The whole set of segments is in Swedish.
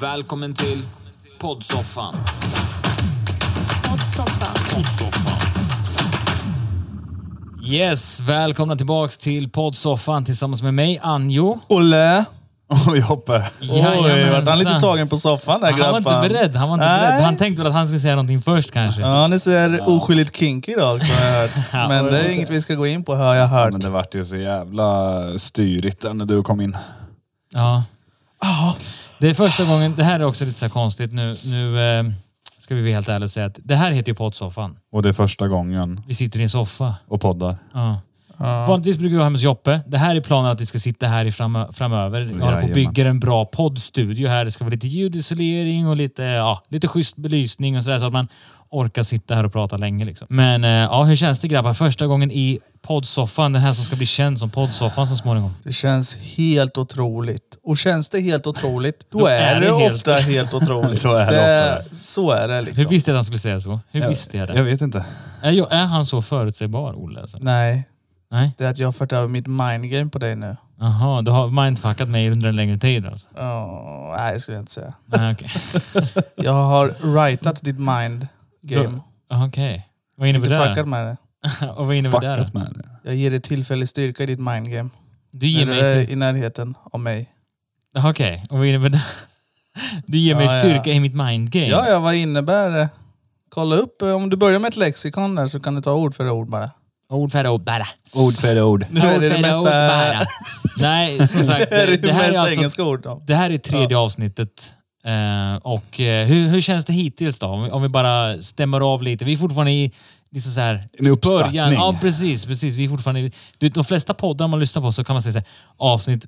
Välkommen till poddsoffan. Poddsoffan. Yes, välkomna tillbaks till poddsoffan tillsammans med mig, Anjo. Olle! Oj, Hoppe. Oj, Jajamensan. vart han lite tagen på soffan där Han var grabben. inte beredd. Han, var inte Nej. beredd. han tänkte väl att han skulle säga någonting först kanske. Ja, ni ser oskyldigt kinky idag som jag har hört. Men det är inget vi ska gå in på har jag hört. Men det vart ju så jävla styrigt där när du kom in. Ja. Det är första gången, det här är också lite så här konstigt nu. Nu eh, ska vi vara helt ärliga och säga att det här heter ju poddsoffan. Och det är första gången Vi sitter i en soffa. och poddar. Ja. Vanligtvis brukar vi vara hemma hos Joppe. Det här är planen att vi ska sitta här i framö- framöver. Jag håller på och Jajamän. bygger en bra poddstudio här. Det ska vara lite ljudisolering och lite, ja, lite schysst belysning och sådär så att man orkar sitta här och prata länge. Liksom. Men eh, ja, hur känns det grabbar? Första gången i poddsoffan. Den här som ska bli känd som poddsoffan så småningom. Det känns helt otroligt. Och känns det helt otroligt, då, är, det helt- ofta helt otroligt. Då är det så är det Hur liksom. visste jag att han skulle säga så? Hur visste jag det? Jag vet inte. Är, jag, är han så förutsägbar, Olle? Alltså? Nej, Nej? det är att jag har fört över mitt mindgame på dig nu. Jaha, du har mindfuckat mig under en längre tid alltså? Åh, nej, det skulle jag inte säga. Nej, okej. Jag har rightat ditt mindgame. Okej. Vad innebär Inte det? fuckat med det. Och vad innebär det? Fuckat med det. Jag ger dig tillfällig styrka i ditt mindgame. Du ger När mig du är i närheten av mig. Jaha, Okej, och vad innebär det? Du ger mig Ja, ja. styrka i mitt mindgame. Ja, ja, vad innebär det? Kolla upp, eh, om du börjar med ett lexikon där så kan du ta ord för ord bara. Ord för ord bara. Ord för ord. Nu är det det ord bara. mesta, Nej, som sagt. det är Det, det här, är mesta alltså, engelska ord. då. det här är tredje avsnittet. Eh, och eh, hur, hur känns det hittills då? Om vi, om vi bara stämmer av lite. Vi är fortfarande i liksom så här, En uppstartning. början. Ja, precis. precis. Vi är fortfarande, i- du, vet, de flesta poddar man lyssnar på så kan man säga så här, avsnitt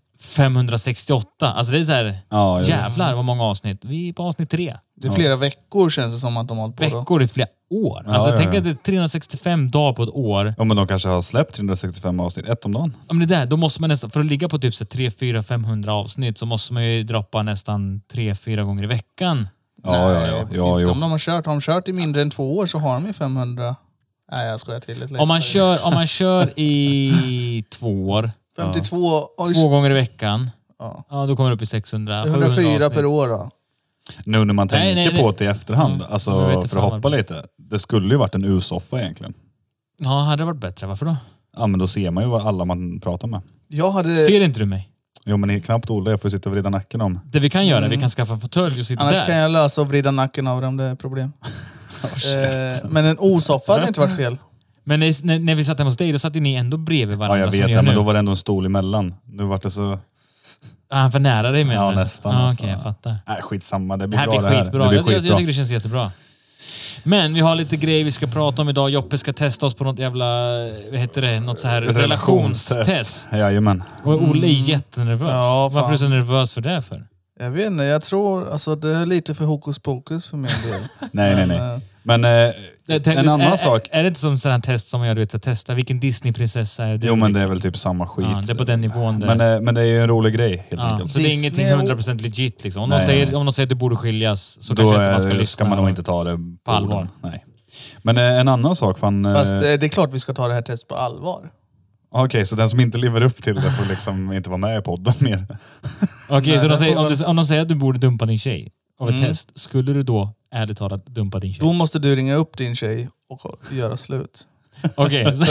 568. Alltså det är så här, Ja, jag vet. jävlar vad många avsnitt. Vi är på avsnitt tre. Det är flera veckor känns det som att de har hållit på då. veckor i flera år. alltså, ja, ja. Tänk att det är 365 dagar på ett år. Ja, men de kanske har släppt 365 avsnitt, ett om dagen. Ja, men det där, då måste man nästan, för att ligga på typ så här 3, 4, 500 avsnitt så måste man ju droppa nästan 3, 4 gånger i veckan. Ja, ja, ja. ja Inte jo. om de har kört. Har de kört i mindre än två år så har de ju 500. Nej, jag skojar till lite. Om man kör, om man kör i två år, 52, oj, två gånger i veckan, Ja. ja, då kommer du upp i 600, 104 per år. år då. Nu när man Nej, tänker nej, nej. på det i efterhand, Jag vet alltså inte för fan att hoppa vad- lite. Det skulle ju varit en U-soffa egentligen. Ja, hade det varit bättre. Varför då? Ja, men då ser man ju vad alla man pratar med. Jag hade... Ser inte du mig? Jo, men det är knappt Olle. Jag får sitta och vrida nacken om. Det vi kan göra, vi Mm. kan skaffa en fåtölj och sitta Annars där. kan jag lösa och vrida nacken av dig om det är problem. eh, men en osoffa hade inte varit fel. Men när, när- när vi satt hemma hos dig, då satt ju ni ändå bredvid Ja, varandra jag som vet ni gör det, men nu. då var det ändå en stol emellan. Nu vart det så... Ah, Han för nära dig menar Ja, du? nästan, Ah, Okej, alltså. jag fattar. Nej, skitsamma. Det Det blir här bra blir det här. skitbra. Det blir jag, jag, jag skitbra. tycker det känns jättebra. Men vi har lite grejer vi ska prata om idag. Joppe ska testa oss på något jävla, vad heter det, något så här relationstest. Jajamän. Och Olle är jättenervös. Ja, fan. Varför är du så nervös för det för? Jag vet inte, jag tror alltså det är lite för hokus pokus för min del. Nej, nej, nej. Men eh, Jag tänkte- en annan är, sak. Är, är det inte som sådana här test som man gör, du vet, så här, testa vilken Disneyprinsessa är du? Jo, men det är liksom? väl typ samma skit. ja, det är på den nivån där. men, eh, men det är ju en rolig grej ja, helt enkelt. så det är Disney ingenting 100% legit liksom. Om någon, Nej. säger, om någon säger att du borde skiljas så Då kanske inte man ska eh, lyssna. ska man nog inte ta det på allvar. orden. Nej. Men eh, en annan sak. Fan, eh, Fast eh, Okej, det är klart vi ska ta det här testet på allvar. så den som inte lever upp till det får liksom inte vara med i podden mer. Okej, så de det säger, får om, väl- du, om de säger att du borde dumpa din tjej av Mm. ett test, skulle du då ärligt talat dumpa din tjej? Då måste du ringa upp din tjej och göra slut. Okej, så-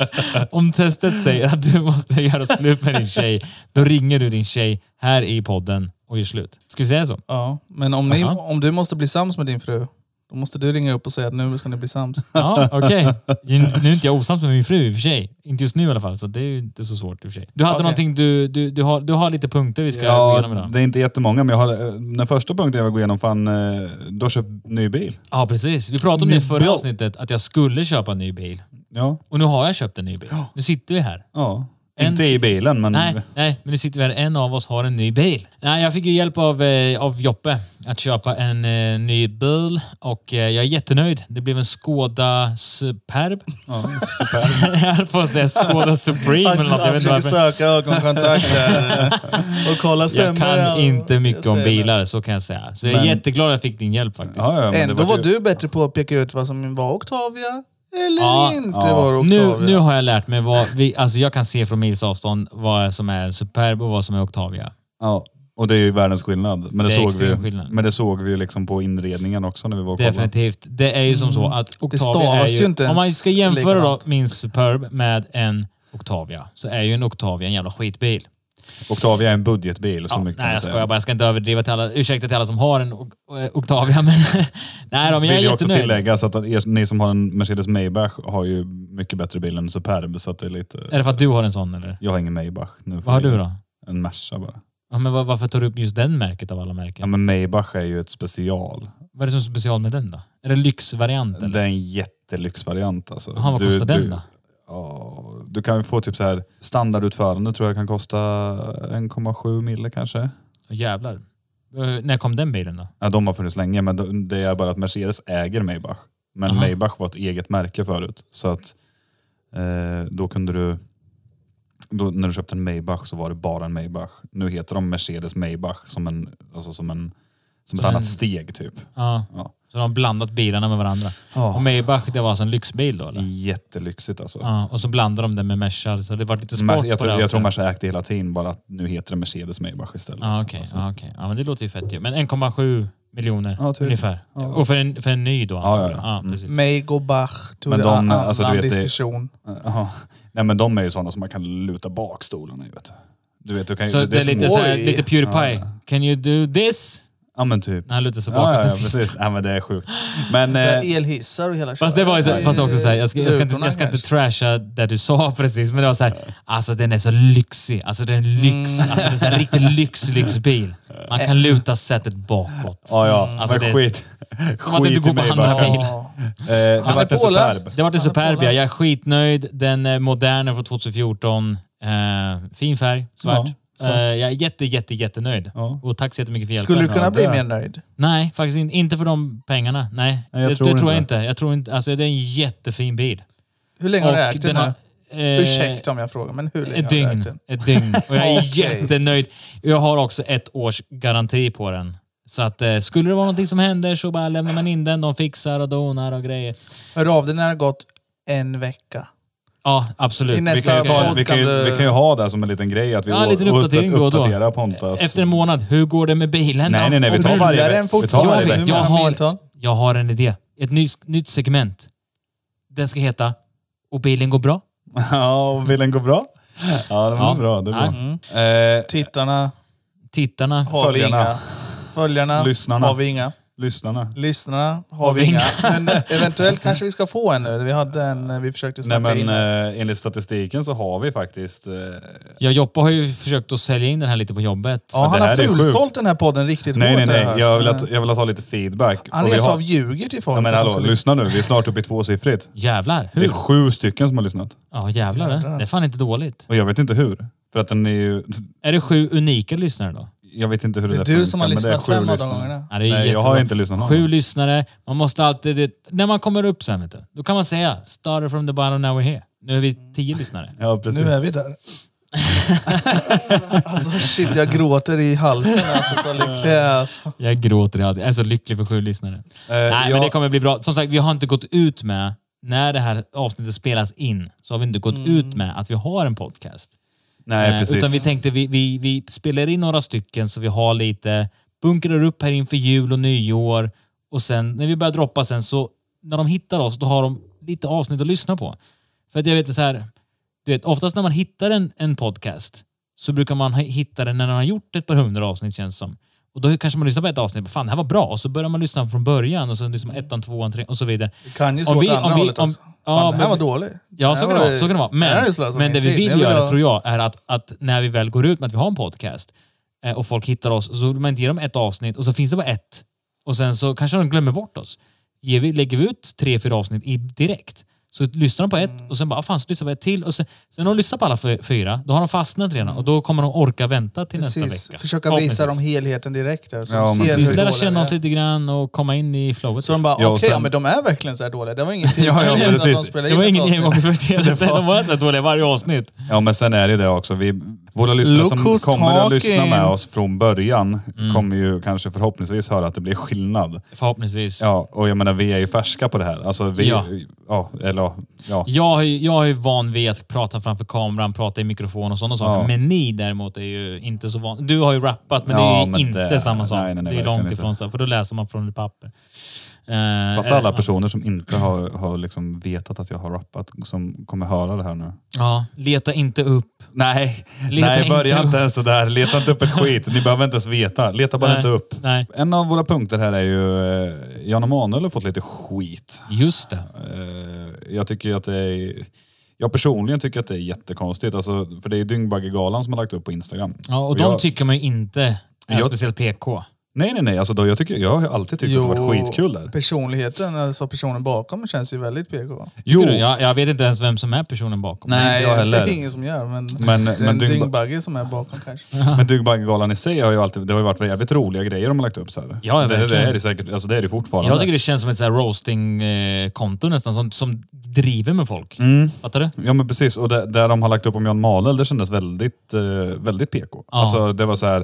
om testet säger att du måste göra slut med din tjej, då ringer du din tjej här i podden och gör slut. Ska vi säga så? Ja, men om, ni, Aha. om du måste bli sams med din fru, då måste du ringa upp och säga att nu ska ni bli sams. Ja, okej. Nu är inte jag osams med min fru i och för sig. Inte just nu i alla fall, så det är ju inte så svårt i och för sig. Du hade Okej. någonting, du, du, du, har, du har lite punkter vi ska gå Ja, igenom idag. det är inte jättemånga, men jag har, eh, den första punkten jag vill gå igenom, fan, eh, du har köpt ny bil. Ja, precis. Vi pratade om det i förra bil. avsnittet, att jag skulle köpa en ny bil. Ja. Och nu har jag köpt en ny bil. Nu sitter vi här. ja. En- Inte i bilen, men... Nej, nej, men nu sitter vi här. En av oss har en ny bil. Nej, jag fick ju hjälp av, eh, av Joppe att köpa en eh, ny bil och eh, jag är jättenöjd. Det blev en Skoda Superb. Ja, super. jag höll på att säga Skoda Supreme eller något. Jag, Han vet inte försöker varför. söka ögonkontakt där eh, och kolla jag stämmer kan det? inte mycket Jag om ser det. bilar, så kan jag säga. Så jag är Men- jätteglad jag fick din hjälp faktiskt. Ja, ja, men det Ändå vart var ju- du bättre på att peka ut vad som var Octavia eller Ja, inte ja. var Octavia. Nu, nu har jag lärt mig vad vi, alltså jag kan se från mils avstånd vad som är en Superb och vad som är Octavia. Ja. Och det är ju världens skillnad. Men det, Det är såg, vi, extrem ju- skillnad. men det såg vi ju liksom på inredningen också när vi var och kollade. Definitivt. Det är ju som så att Octavia är Mm. stavas ju... ju inte om man ens ska jämföra då likadant. min Superb med en Octavia, så är ju en Octavia en jävla skitbil. Octavia är en budgetbil. Så Ja, mycket kan nej, man jag säga. skojar bara. Jag ska inte överdriva till alla. Ursäkta till alla som har en O- eh, Octavia, men... nej då, men jag är Vill jag också jättenöjd. tillägga så att er, ni som har en Mercedes Maybach har ju mycket bättre bil än Superb. Så att det är lite... Är det för att du har en sån eller? Jag har ingen Maybach nu. för Vad har du tiden. då? En Merca bara. Ja, men va- varför tar du upp just den märket av alla Ja, märken? men Maybach är ju ett special. Vad är det som är special med den då? Är det lyxvarianten? Det är en jättelyxvariant alltså. Jaha, vad Du- kostar du- den då? Ja, du kan ju få typ så här standardutförande tror jag kan kosta 1,7 mille kanske. Åh, Jävlar. Eh, när kom den bilen då? Ja, de har funnits länge men de- det är bara att Mercedes äger Maybach. Men Aha. Maybach var ett eget märke förut. Så att eh, då kunde du... Då, när du köpte en Maybach så var det bara en Maybach. Nu heter de Mercedes Maybach som en... Alltså som en som ett Som en- annat steg typ. Ja. Ja. Så de har blandat bilarna med varandra. Ja. Och Maybach, det var alltså en lyxbil då eller? Jättelyxigt alltså. Ja, och så blandade de det med Mercar, så det var lite sport Mer, jag, på det tror, jag också. tror Merca ägde hela tiden bara att nu heter det Mercedes Maybach istället. Ja, okej. Alltså, ja, okej. Ja, men det låter ju fett ju. Men 1,7 miljoner Ja, typ. ungefär. Ja. Och för en, för en ny då? Ja, ja, antagligen. ja. Mm. precis. Mig går Bach, to Men the de, annan alltså, du vet, det- diskussion. Ja. Nej men de är ju sådana som man kan luta bak stolarna i vet du. du. Vet, du kan, ju- så det, är som- lite, såhär, Oj. lite PewDiePie. Ja. Can you do this? Ja men typ. När han lutar sig bakåt Ja, ja, ja, till sist. precis. Ja, men det är sjukt. Men, Så här eh, elhissar och hela Fast det var ju så, köret. fast också såhär, jag ska, jag ska, inte, Rutorna jag ska inte kanske. trasha det du sa precis, men det var såhär, alltså den är så lyxig. Alltså den är lyx, Mm. alltså det är så här riktigt lyx, lyxbil. Man kan luta sätet bakåt. ja, ja. Alltså, men det- skit. Som att det inte skit i går på mig andra bara. bilar. Ja. Eh, det Han är vart en påläst. superb. Det var det Han är Superbia. påläst. Jag är skitnöjd. Den är modern från 2014. Eh, fin färg, svart. Ja, svart. Eh, jag är jätte, jätte, jättenöjd. Ja. Och tack så jättemycket för hjälpen. Skulle du kunna Ja, bli det- mer nöjd? Nej, faktiskt inte. Inte för de pengarna. Nej, Nej, jag det, tror det tror jag inte. inte. Jag tror inte. Alltså, det är en jättefin bil. Hur länge har du ägt den nu? eh, Ursäkta om jag frågar, men hur länge Ett har du ägt dygn. den? Ett dygn. Och jag är Okej. jättenöjd. Jag har också ett års garanti på den. Så att eh, skulle det vara någonting som händer så bara lämnar man in den. De fixar och donar och grejer. Hör av dig när det har gått en vecka. Ja, absolut. I nästa Vi kan, ju ta, vi, kan ju, vi kan ju ha det som en liten grej att vi Ja, å- lite en uppdatering då och då. uppdaterar Pontus. Efter en månad, hur går det med bilen? Alltså- Nej, nej, nej. Vi Om tar du- varje, rullar ve- den vi tar fortfarande? varje Jag vet, Hur jag vecka. många har, milton? jag har en idé. Ett nytt, nytt segment. Det ska heta Och bilen går bra. Ja, och bilen går bra. Ja, det var Ja. bra. Det var bra. Mm. Eh, Tittarna Tittarna. har Följarna. vi inga. Följarna Lyssnarna. har vi inga. lyssnarna. Lyssnarna har vi inga. Men eh, eventuellt kanske vi ska få en nu. Vi hade en eh, vi försökte Nej, snacka men, in. eh, enligt statistiken så har vi faktiskt eh, Ja, Joppa har ju försökt att sälja in den här lite på jobbet. ja, han det har här är sjukt. fulsålt den här podden riktigt Nej, nej, hårt. nej. har hört. Jag vill, att, jag vill att ha lite feedback. Mm. Han Och vi rent har- av ljuger till folk. Ja, men för att de hallå, ska lyssna. lyssna nu. Vi är snart uppe i tvåsiffrigt. Jävlar. Det är Hur? sju stycken som har lyssnat. Ja, jävlar. det. Det är fan inte dåligt. Och jag vet inte hur. För att den är ju... Är det sju unika lyssnare då? Jag vet inte hur det Det är funkar, du som har men det är lyssnat sju fem av de lyssnare. gångerna. Ja, det är ju Nej, jag jättebra. har inte lyssnat någon. Sju lyssnare. Man måste alltid... Det, när man kommer upp sen, vet du, då kan man säga started from the bottom, now we're here. Nu är vi tio lyssnare. Ja, precis. Nu är vi där. alltså shit, jag gråter i halsen alltså. Så lycklig jag är, alltså. Jag gråter i allt. Jag är så lycklig för sju lyssnare. Nej, men jag- det kommer bli bra. Som sagt, vi har inte gått ut med, när det här avsnittet spelas in, så har vi inte gått ut med att vi har en podcast. Nej, Eh, precis. Utan vi tänkte vi, vi, vi spelar in några stycken så vi har lite, bunkrar upp här inför jul och nyår och sen när vi börjar droppa sen så, när de hittar oss, då har de lite avsnitt att lyssna på. För att jag vet så här, du vet, oftast när man hittar en, en podcast så brukar man hi- hitta den när man har gjort ett par hundra avsnitt känns det som. Och då kanske man lyssnar på ett avsnitt, fan det här var bra, och så börjar man lyssna från början och sen liksom ettan, tvåan, trean och så vidare. Det kan ju Om slå vi- åt andra om vi- hållet om- också. Fan, ja, det här men- var dålig. Ja, så här kan, det vara, så kan det vara. här är Men, ju slösat men det min vi tid. vill Jag göra, ha- tror jag, är att, att när vi väl går ut med att vi har en podcast eh, och folk hittar oss, så vill man inte ge dem ett avsnitt och så finns det bara ett. Och sen så kanske de glömmer bort oss. Ger vi, lägger vi ut tre, fyra avsnitt i direkt, så lyssnar de på Mm. ett och sen bara, "Ah, fan, så lyssnar de på ett till. Och sen, sen när de lyssnar på alla fy- fyra, då har de fastnat redan och då kommer de orka vänta till Mm. Precis. nästa vecka. Försöka visa dem Förhoppningsvis. helheten direkt. Där, så Ja, de men ser precis. hur Lära dåliga känna vi oss är. lite grann och komma in i flowet. Så de bara, Ja, och okej, ja, sen- men de är verkligen så här dåliga. Det var ingen tid Ja, ja, att de precis. spelade det in var ett ingen avsnitt. engångsföreteelse, de var så här dåliga i varje avsnitt. Ja, men sen är det det också. Vi, Våra lyssnare Look who's som kommer att lyssna talking. med oss från början Mm. kommer ju kanske förhoppningsvis höra att det blir skillnad. Förhoppningsvis. Ja, och jag menar vi är ju färska på det här. Alltså, vi, Ja. ja. eller ja. ja. Jag, är- jag är van vid att prata framför kameran, prata i mikrofon och sådana saker. Ja. Men ni däremot är ju inte så van. Du har ju rappat, men det är Ja, ju men inte det- samma sak. nej, nej, nej, det är verkligen långt inte. ifrån så, för då läser man från ett papper. Eh, Fatta alla eh, personer som inte har, har liksom vetat att jag har rappat som kommer höra det här nu. Ja, leta inte upp. Nej, Leta nej inte börja upp. inte ens sådär. Leta inte upp ett skit. Ni behöver inte ens veta. Leta bara Nej. inte upp. Nej, En av våra punkter här är ju... eh, Jan Emanuel har fått lite skit. just det. Eh, Jag tycker ju att det är... Jag personligen tycker att det är jättekonstigt. Alltså, för det är ju Dyngbaggegalan som har lagt upp på Instagram. Ja, och Och de jag- tycker man ju inte är Jag- speciellt PK. Nej, nej, nej. Alltså, då, jag, tycker, jag har alltid tyckt att det har varit skitkul där. personligheten, alltså personen bakom känns ju väldigt PK. Jo. Du? Jag, jag vet inte ens vem som är personen bakom. Nej, jag det heller. är ingen som gör, men, Men- det är men en dyngba- dyngbagge som är bakom kanske. Men Dyngbaggegalan i sig har ju alltid... Det har ju varit jävligt roliga grejer de har lagt upp så här. Ja, ja, det, det verkligen. är det säkert. Alltså, det är det fortfarande. Jag tycker det känns som ett så här roasting-konto nästan, som, som driver med folk. Mm. Fattar du? Ja men precis, och det, där de har lagt upp om Jan Malel, det kändes väldigt, eh, väldigt PK. Ja. Alltså det var så här,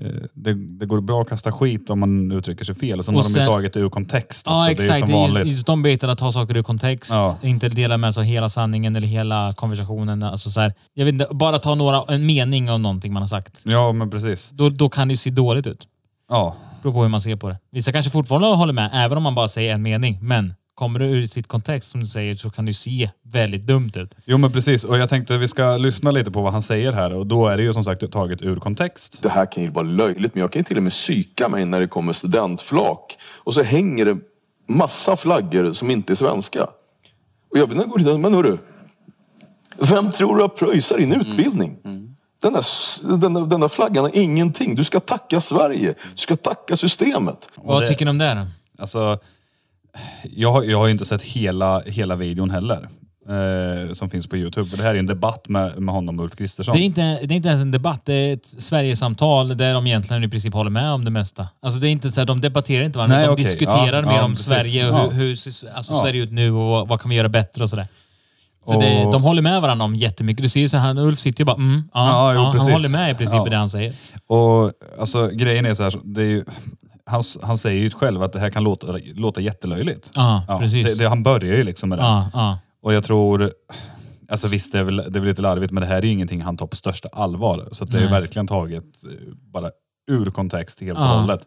eh, det, det går bra att kasta skit om man uttrycker sig fel. Sen Och har de sen- ju tagit det ur kontext också. Ja, det är ju exakt. som Det är just, vanligt. just de bitarna, ta saker ur kontext, Ja. inte dela med sig av hela sanningen eller hela konversationen. Alltså så här, jag vet inte, bara ta några, en mening av någonting man har sagt. Ja men precis. Då, då kan det ju se dåligt ut. Ja. Beror på hur man ser på det. Vissa kanske fortfarande håller med, även om man bara säger en mening. Men kommer det ur sitt kontext, som du säger, så kan det ju se väldigt dumt ut. Jo men precis, och jag tänkte vi ska lyssna lite på vad han säger här och då är det ju som sagt taget ur kontext. det här kan ju vara löjligt, men jag kan ju till och med psyka mig när det kommer studentflak. Och så hänger det massa flaggor som inte är svenska. Och jag går dit och men hörru, vem tror du har pröjsar din utbildning? Den, där, s- den, där, den där flaggan har ingenting. Du ska tacka Sverige. Du ska tacka systemet. Vad det- tycker ni om det? då? Alltså, jag, har- jag har ju inte sett hela, hela videon heller. Eh, som finns på Youtube. För Det här är en debatt med, med honom och Ulf Kristersson. Det är, inte, det är inte ens en debatt, det är ett Sverigesamtal där de egentligen i princip håller med om det mesta. Alltså det är inte så här, de debatterar inte varandra, Nej, de okej. diskuterar Ja, mer ja, om precis. Sverige och Ja. hur, hur ser alltså Ja. Sverige ut nu och vad, vad kan vi göra bättre och sådär. Så Och- det, de håller med varandra om jättemycket. Du ser ju så här, Ulf sitter ju bara mm, ja, Ja, jo, ja, han precis. håller med i princip Ja. i det han säger. Och alltså, grejen är så här, så- det är ju, han, han säger ju själv att det här kan låta, låta jättelöjligt. Ja, precis. Det, det, han börjar ju liksom med det. Ja, ja. Och jag tror, alltså visst det är, väl, det är väl lite larvigt men det här är ju ingenting han tar på största allvar. Så att det är ju verkligen taget eh, bara ur kontext helt och Ja. hållet.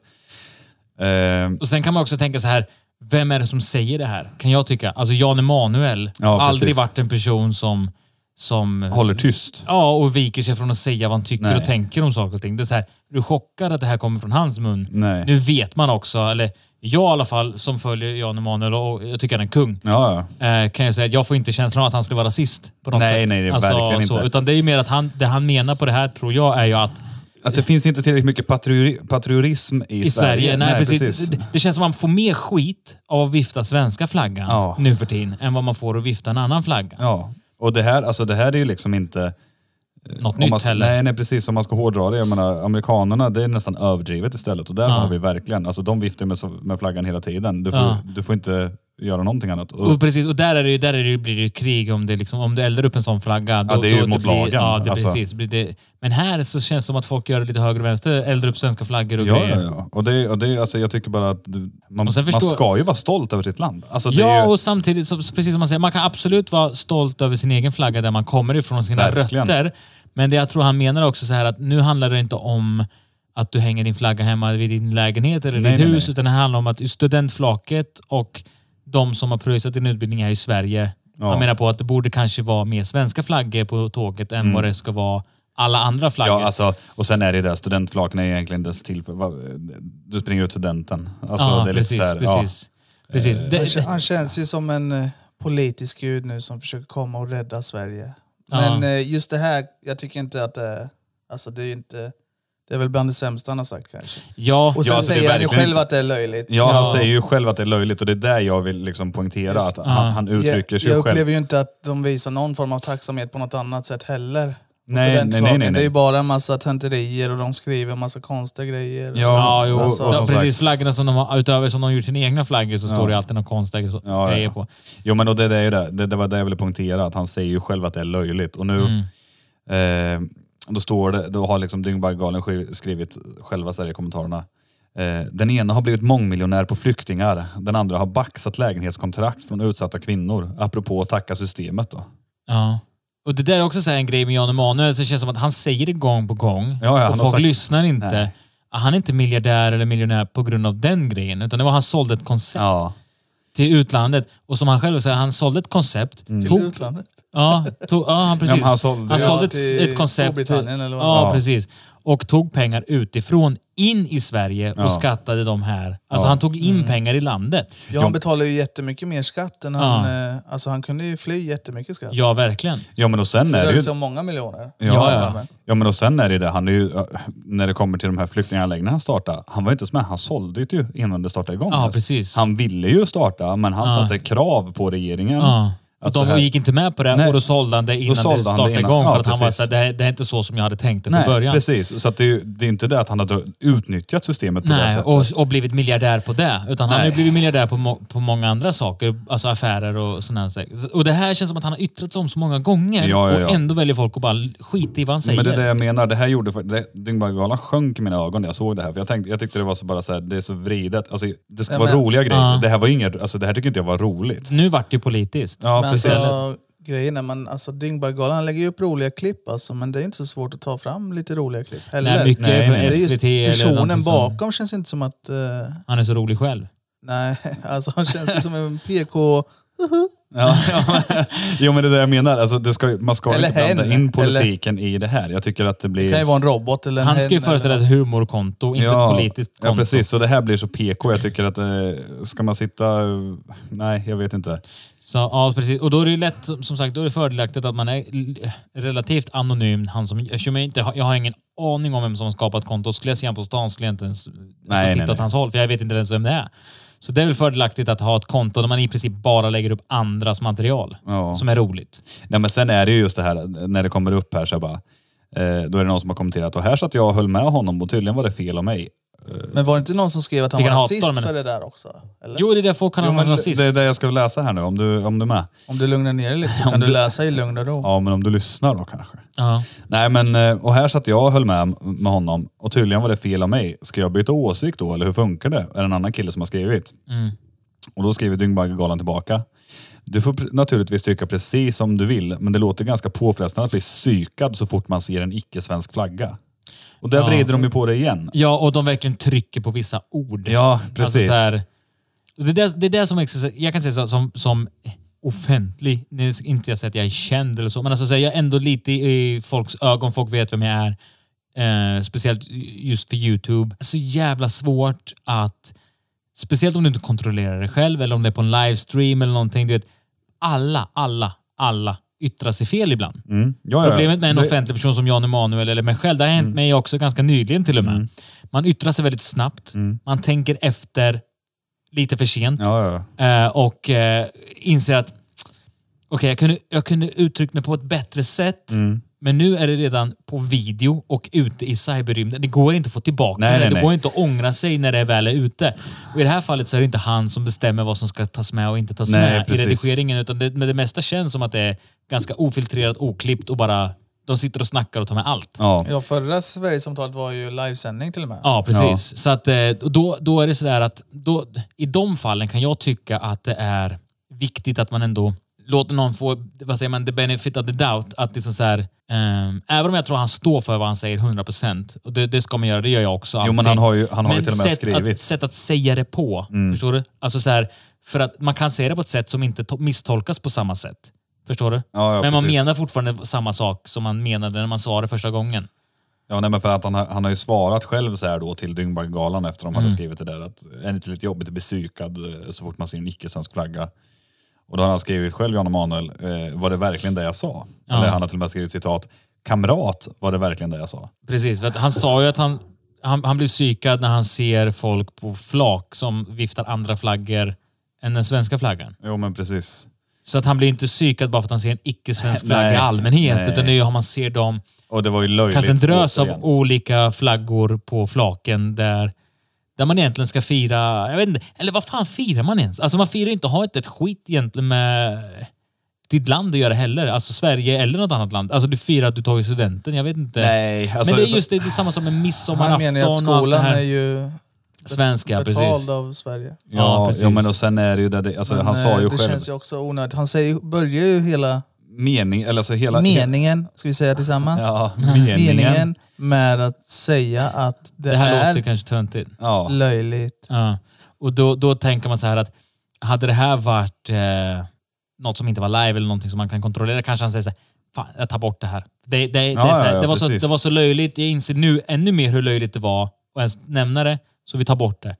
Eh, Och sen kan man också tänka så här, vem är det som säger det här? Kan jag tycka. Alltså Jan Emanuel Ja, har aldrig precis. varit en person som, som håller tyst. Ja, och viker sig från att säga vad han tycker Nej. och tänker om saker och ting. Det är så här, är du chockad att det här kommer från hans mun? Nej. Nu vet man också, eller jag i alla fall, som följer Jan Emanuel och jag tycker han är en kung, Ja, ja. eh, kan jag säga att jag får inte känslan av att han skulle vara rasist på något Nej, sätt. Alltså, nej, det är verkligen inte. Utan det är ju mer att han, det han menar på det här, tror jag, är ju att Att det finns inte tillräckligt mycket patriori- patriotism i, i Sverige, nej, precis. Det, det känns som att man får mer skit av att vifta svenska flaggan Ja. nu för tiden, än vad man får att vifta en annan flagga. Ja. Och det här, alltså det här är ju liksom inte... Något Om nytt man, heller. Nej, nej, precis. Om man ska hårdra det. Jag menar, amerikanerna, det är nästan överdrivet istället. Och där har vi verkligen, alltså de viftar med, med flaggan hela tiden. Du får, Ja. du får inte göra någonting annat. Och, Och precis, och där, är det, ju- där är det, ju- blir det ju krig om, det liksom, om du eldar upp en sån flagga. Då, Ja, det är ju då, mot blir, lagen, Ja, det, alltså. precis. Blir det, men här så känns det som att folk gör det lite höger och vänster, eldar upp svenska flaggor och ja, grejer. ja, ja. Och det, och det, alltså, jag tycker bara att du, man, Och sen man förstår- ska ju vara stolt över sitt land. Alltså, det är Ja, ju, och samtidigt, så, precis som man säger, man kan absolut vara stolt över sin egen flagga där man kommer ifrån och sina Verkligen. rötter. Men det jag tror han menar också så här att nu handlar det inte om att du hänger din flagga hemma vid din lägenhet eller Nej, ditt nej, hus, nej. utan det handlar om att studentflaket och de som har pröjsat din utbildning här i Sverige, Ja. han menar på att det borde kanske vara mer svenska flaggor på tåget än vad det ska vara alla andra flaggor. Mm. ja, alltså, och sen är det ju det, studentflaken är ju egentligen dess till för... va- Du springer ut studenten. Alltså, Ja, det är precis, lite så här, ja. Eh, precis. precis. Det, Han, kä- det, han känns ju som en eh, politisk gud nu som försöker komma och rädda Sverige. Ja. Men eh, just det här, jag tycker inte att det, alltså det är ju inte, det är väl bland det sämsta han har sagt kanske. ja, Och sen Ja, alltså, det är säger han ju verkligen själv inte- att det är löjligt. Ja, han Ja. säger ju själv att det är löjligt och det är där jag vill liksom poängtera Just- att han, Ja. han Jag, uttrycker sig jag själv. upplever ju inte att de visar någon form av tacksamhet på något annat sätt heller. Och Nej, studentflaken, nej, nej, nej, nej. Det är ju bara en massa tentorier och de skriver en massa konstiga grejer. Ja, jo. och, och ja, som precis. sagt, Flaggorna som de har, utöver som de har gjort sina egna flaggor så står det alltid någon konstig så, Ja, ja. grejer på. Jo men och det, det är ju det. det. Det var det jag ville punktera, att han säger ju själv att det är löjligt. Och nu, eh, Då står det, då har liksom Dyngbaggegalan sk- skrivit själva så här i kommentarerna. Eh, den ena har blivit mångmiljonär på flyktingar. Den andra har baxat lägenhetskontrakt från utsatta kvinnor. Apropå att tacka systemet då. Ja. Och det där är också så här en grej med Jan Emanuel, så det känns som att han säger det gång på gång. ja, han har och folk sagt- lyssnar inte. Nej. Han är inte miljardär eller miljonär på grund av den grejen, utan det var han sålde ett koncept Ja. till utlandet. Och som han själv säger, han sålde ett koncept. Mm. Till Tog, utlandet. ja, tog, ja, han precis. Ja, men han sålde- han Ja, sålde till ett, ett koncept. Storbritannien eller vad det ja, var. precis. Och tog pengar utifrån in i Sverige och Ja. skattade de här. Alltså Ja. Mm. han tog in pengar i landet. Ja, han betalar ju jättemycket mer skatt än han... eh, Alltså han kunde ju fly jättemycket skatt. Ja, verkligen. ja men och sen det är är det ju... liksom många miljoner. Ja, Ja, ja. ja. ja, men och sen är det ju det. Han är ju, eh, när det kommer till de här flyktinganläggningarna han startade, han var ju inte ens med. Han sålde det ju innan det startade igång. Ja, Alltså, precis. Han ville ju starta, men han satte krav på regeringen. Ja. Och Att så de Alltså, här- gick inte med på det Nej. och då sålde han det innan sålde det han det startade innan. igång. Ja, för att han var precis. såhär, det, här- det är inte så som jag hade tänkt det Nej, från början. precis. Så att det, är ju, det är inte det att han har dra- utnyttjat systemet på det Nej, sättet. och, och blivit miljardär på det. Utan han har ju Nej. blivit miljardär på, må, på många andra saker. Alltså affärer och sådana här saker. Och det här känns som att han har yttrat sig om så många gånger Ja, ja, ja. och ändå väljer folk att bara skita i vad han säger. men det är det jag menar. Det här gjorde fakt- det- Dyngbaggegalan sjönk i mina ögon när jag såg det här. För jag, tänkte, jag tyckte det var så bara så här, det är så vridet. Alltså, det ska Ja, vara men- roliga grejer. Ja. Det här var inget, alltså det här tycker inte jag var roligt. Nu vart det ju politiskt. Ja, men precis. alltså, grejen är, man, alltså Dyngbaggegalan lägger ju upp roliga klipp alltså, men det är inte så svårt att ta fram lite roliga klipp heller. Nej, mycket Nej, från nej. det är just SVT eller personen någonting som- bakom känns inte som att... eh, Han är så rolig själv. nej, alltså han känns ju som en PK... Ja, ja. jo men det är det jag menar. Alltså, det ska, man ska Eller inte blanda hen, in politiken i det här. Jag tycker att det blir... Det kan ju vara en robot eller en Han ska ju hen föreställa eller- ett humorkonto, inte ett politiskt konto. Ja, precis. Så det här blir så PK. Jag tycker att eh, ska man sitta... eh, Nej, jag vet inte. Så, ja, precis. Och då är det ju lätt, som som sagt, då är det fördelaktigt att man är l- relativt anonym. Han som, eftersom jag, inte, har- jag har ingen aning om vem som har skapat kontot. Skulle jag se honom på stan skulle jag inte ens alltså, nej, titta åt nej. hans håll, för jag vet inte ens vem det är. Så det är väl fördelaktigt att ha ett konto där man i princip bara lägger upp andras material Ja. som är roligt. Nej, men sen är det ju just det här när det kommer upp här så jag bara... Eh, då är det någon som har kommenterat och här satt jag och höll med honom och tydligen var det fel av mig. Men var det inte någon som skrev att han Fick var han rasist hatstorm, eller? för det där också? Eller? Jo, det är det folk kan Jo, använda men rasist. det är det jag ska läsa här nu, om du, om du är med. Om du lugnar ner dig lite så Om kan du du- läsa i lugn och ro. Ja, men om du lyssnar då kanske. Ja. Nej, men eh, och här satt jag och höll med, med honom och tydligen var det fel av mig. Ska jag byta åsikt då eller hur funkar det? Är det en annan kille som har skrivit. Och då skriver Dyngbaggegalan tillbaka. Du får pr- naturligtvis tycka precis som du vill, men det låter ganska påfrestande att bli psykad så fort man ser en icke-svensk flagga. Och där vrider de ju på det igen. ja, och de verkligen trycker på vissa ord. Ja, Alltså precis. så här, det, där, det där som exercis- jag kan säga så, som, som offentlig, nu ska inte jag säga att jag är känd eller så, men alltså, så här, jag är ändå lite i, i folks ögon, folk vet vem jag är. Eh, speciellt just för Youtube. Så jävla svårt att, speciellt om du inte kontrollerar det själv eller om det är på en livestream eller någonting. Du vet, alla, alla, alla yttrar sig fel ibland. Ja, ja. Problemet med en Det- Mm. offentlig person som Jan Emanuel eller mig själv, det har hänt mig också ganska nyligen till och med. Man yttrar sig väldigt snabbt. Man tänker efter lite för sent Mm. Ja, ja. eh, och eh, inser att okej, jag, kunde, jag kunde uttryckt mig på ett bättre sätt. Mm. Men nu är det redan på video och ute i cyberrymden. Det går inte att få tillbaka Nej, det. nej, det nej. går inte att ångra sig när det väl är ute. Och I det här fallet så är det inte han som bestämmer vad som ska tas med och inte tas Nej, med i precis. redigeringen. Utan det, men det mesta känns som att det är ganska ofiltrerat, oklippt och bara de sitter och snackar och tar med allt. ja. Ja, förra Sverigesamtalet var ju livesändning till och med. Ja, precis. Så att, eh, och då, då är det sådär att då, i de fallen kan jag tycka att det är viktigt att man ändå låter någon få, vad säger man, the benefit of the doubt. Att liksom så här, ehm, även om jag tror han står för vad han säger 100% och det, det ska man göra, det gör jag också. Jo, men alltid. han har ju, han har ju Men till och med sätt skrivit. Mm. Att, sätt att säga det på. Förstår du? Alltså så här, för att man kan säga det på ett sätt som inte to- misstolkas på samma sätt. Förstår du? Ja, ja, men man precis. menar fortfarande samma sak som man menade när man sa det första gången. Ja, nej, men för att han, har- han har ju svarat själv så här då till Dyngbaggegalan efter de Mm. hade skrivit det där att är det inte lite jobbigt att bli psykad eh, så fort man ser en icke-svensk flagga? Och då har han skrivit själv, Jan Emanuel, eh, var det verkligen det jag sa? Eller han har till och med skrivit citat, kamrat, var det verkligen det jag sa? Precis, för att han sa ju att han, han, han blir psykad när han ser folk på flak som viftar andra flaggor än den svenska flaggan. Jo men precis. Så att han blir inte psykad bara för att han ser en icke-svensk Nej. flagga i allmänhet, Nej. utan det är ju om man ser dem, Och det var ju löjligt. kanske en drös återigen. av olika flaggor på flaken där, där man egentligen ska fira, jag vet inte, eller vad fan firar man ens? Alltså man firar ju inte, har inte ett skit egentligen med ditt land att göra heller. Alltså Sverige eller något annat land. Alltså du firar att du tagit studenten. Jag vet inte. Nej, alltså, Men det är så- just det, det är samma som med Han midsommarafton menar ju att och allt det skolan är här. ju Svenska, precis. betald av Sverige. Ja, Ja, precis. ja, men och sen är det ju det, det alltså, Men, han sa eh, ju det själv, känns ju också onödigt. Han säger, börjar ju hela mening, eller alltså hela... meningen, ska vi säga tillsammans? Ja, meningen. meningen med att säga att det, Det här är låter kanske töntigt. Ja, löjligt. Ja. Och då, då tänker man så här att hade det här varit eh, något som inte var live eller någonting som man kan kontrollera kanske han säger så här, Fan, jag tar bort det här. Det, det, det, är Ja, så här, ja, ja, det, var så, precis. det var så löjligt, jag inser nu ännu mer hur löjligt det var och ens nämna det, så vi tar bort det.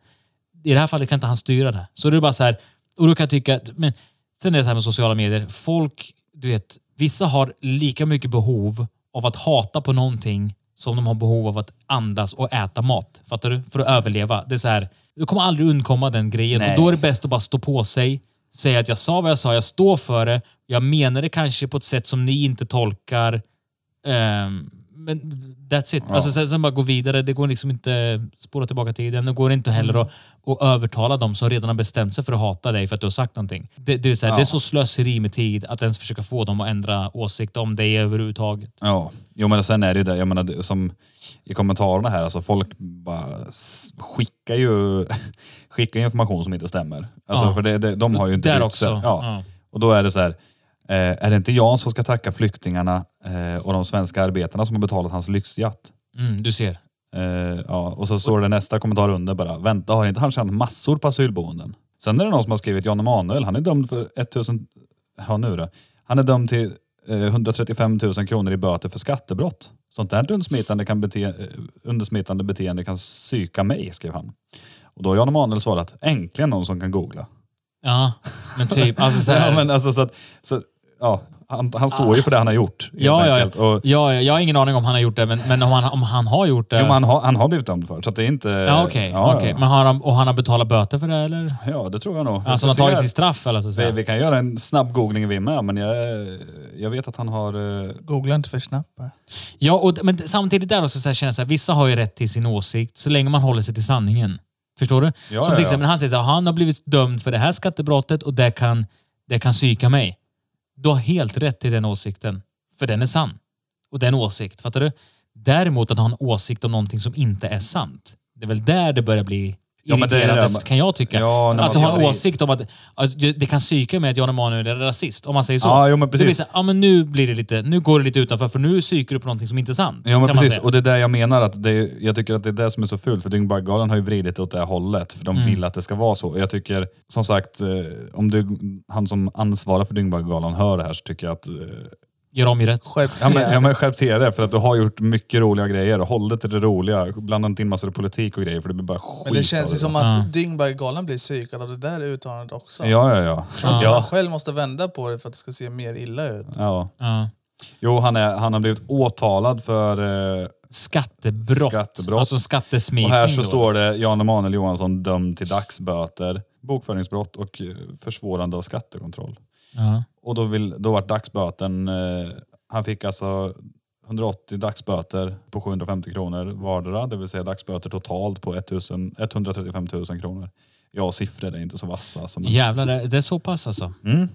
I det här fallet kan inte han styra det. Så det är bara så här, och då kan jag tycka, att- men sen är det så här med sociala medier, folk, du vet, vissa har lika mycket behov av att hata på någonting som de har behov av att andas och äta mat. Fattar du? För att överleva. Det är så här, du kommer aldrig undkomma den grejen. Och då är det bäst att bara stå på sig, säga att jag sa vad jag sa, jag står för det, jag menar det kanske på ett sätt som ni inte tolkar. Ehm, men that's it. Alltså, sen, sen bara gå vidare. Det går liksom inte spåra tillbaka tiden. Det går inte heller att, att övertala dem som redan har bestämt sig för att hata dig för att du har sagt någonting. Det, det, är, så här, det är så slöseri med tid att ens försöka få dem att ändra åsikt om dig överhuvudtaget. ja. Jo, men och sen är det ju det, jag menar det- som i kommentarerna här, alltså folk bara s- skickar ju, skickar ju information som inte stämmer. Alltså, Ja. för det, det, de har ju inte Där brytt också. sig. Ja. Ja. Och då är det så här, eh, är det inte jag som ska tacka flyktingarna eh, och de svenska arbetarna som har betalat hans lyxjatt? Mm, du ser. Eh, ja, och så står det nästa kommentar under bara, vänta har inte han tjänat massor på asylboenden? Sen är det någon som har skrivit Jan Emanuel, han är dömd för 1000, ja nu då. Han är dömd till eh, 135 000 kronor i böter för skattebrott. Sånt där undsmitande, kan bete, eh, undersmitande beteende kan psyka mig, skrev han. Och då har Jan Emanuel svarat, äntligen någon som kan googla. Ja, men typ. Alltså så här, Ja, men alltså så att, så, ja, han, han står ju för det han har gjort. Ah. helt ja, ja, enkelt. ja, Och, ja, ja. Jag har ingen aning om han har gjort det, men, men om, han, om han har gjort det... jo, men han, har, han har blivit dömd för så att det är inte... ja, Eh. Ah, okej. ja, okej. ja. Men har han, och han har betalat böter för det, eller? Ja, det tror jag nog. Jag Alltså han ska har se tagit här. sitt straff, eller? Så att Vi, säga. vi kan göra en snabb googling vi med, men jag, jag vet att han har... eh, Googla inte för snabbt bara. Ja, och, d- men d- samtidigt där också så här känner jag så här, vissa har ju rätt till sin åsikt så länge man håller sig till sanningen. Förstår du? Ja, Som ja, till ja. exempel han säger så här, han har blivit dömd för det här skattebrottet och det kan, det kan psyka mig. Du har helt rätt till den åsikten, för den är sann. Och den åsikt, fattar du? Däremot att ha en åsikt om någonting som inte är sant. Det är väl där det börjar bli Ja, men det är det irriterande, där- kan jag tycka. Ja, när att man- ha en ja, det- åsikt om att alltså, det kan psyka mig att Jan Emanuel är rasist, om man säger så. Ja, jo, men Då blir det precis. så här, ja, men nu, blir det lite, nu går det lite utanför, för nu psyker du på någonting som inte är sant. Ja, men kan man precis. säga. Och det är där jag menar. att det är, Jag tycker att det är det som är så fult. För Dyngbaggegalan har ju vridit det åt det här hållet. För de vill att det ska vara så. Och Jag tycker, som sagt, eh, om du, han som ansvarar för Dyngbaggegalan hör det här så tycker jag att... eh, Gör om ju rätt. Skärp Ja, men, till. ja, men skärp till er för att du har gjort mycket roliga grejer. Håll dig till det roliga. Blanda inte in massor av politik och grejer för det blir bara skit Men det av känns ju som Ja. att Dyngberggalan blir psykad av det där uttalandet också. Ja, ja, ja. Jag tror inte Ja. man själv måste vända på det för att det ska se mer illa ut. ja. Ja. Jo, han, är, han har blivit åtalad för... Eh, Skattebrott. Skattebrott. Alltså skattesmitning. och här så då. står det Jan Emanuel Johansson dömd till dagsböter, bokföringsbrott och eh, försvårande av skattekontroll. Ja. Och då, vill, då vart dagsböten... Eh, han fick alltså 180 dagsböter på 750 kronor vardera, det vill säga dagsböter totalt på 1000, 135 000 kronor. Ja, siffror är inte så vassa. Som Jävlar, det, det är så pass alltså. Mm.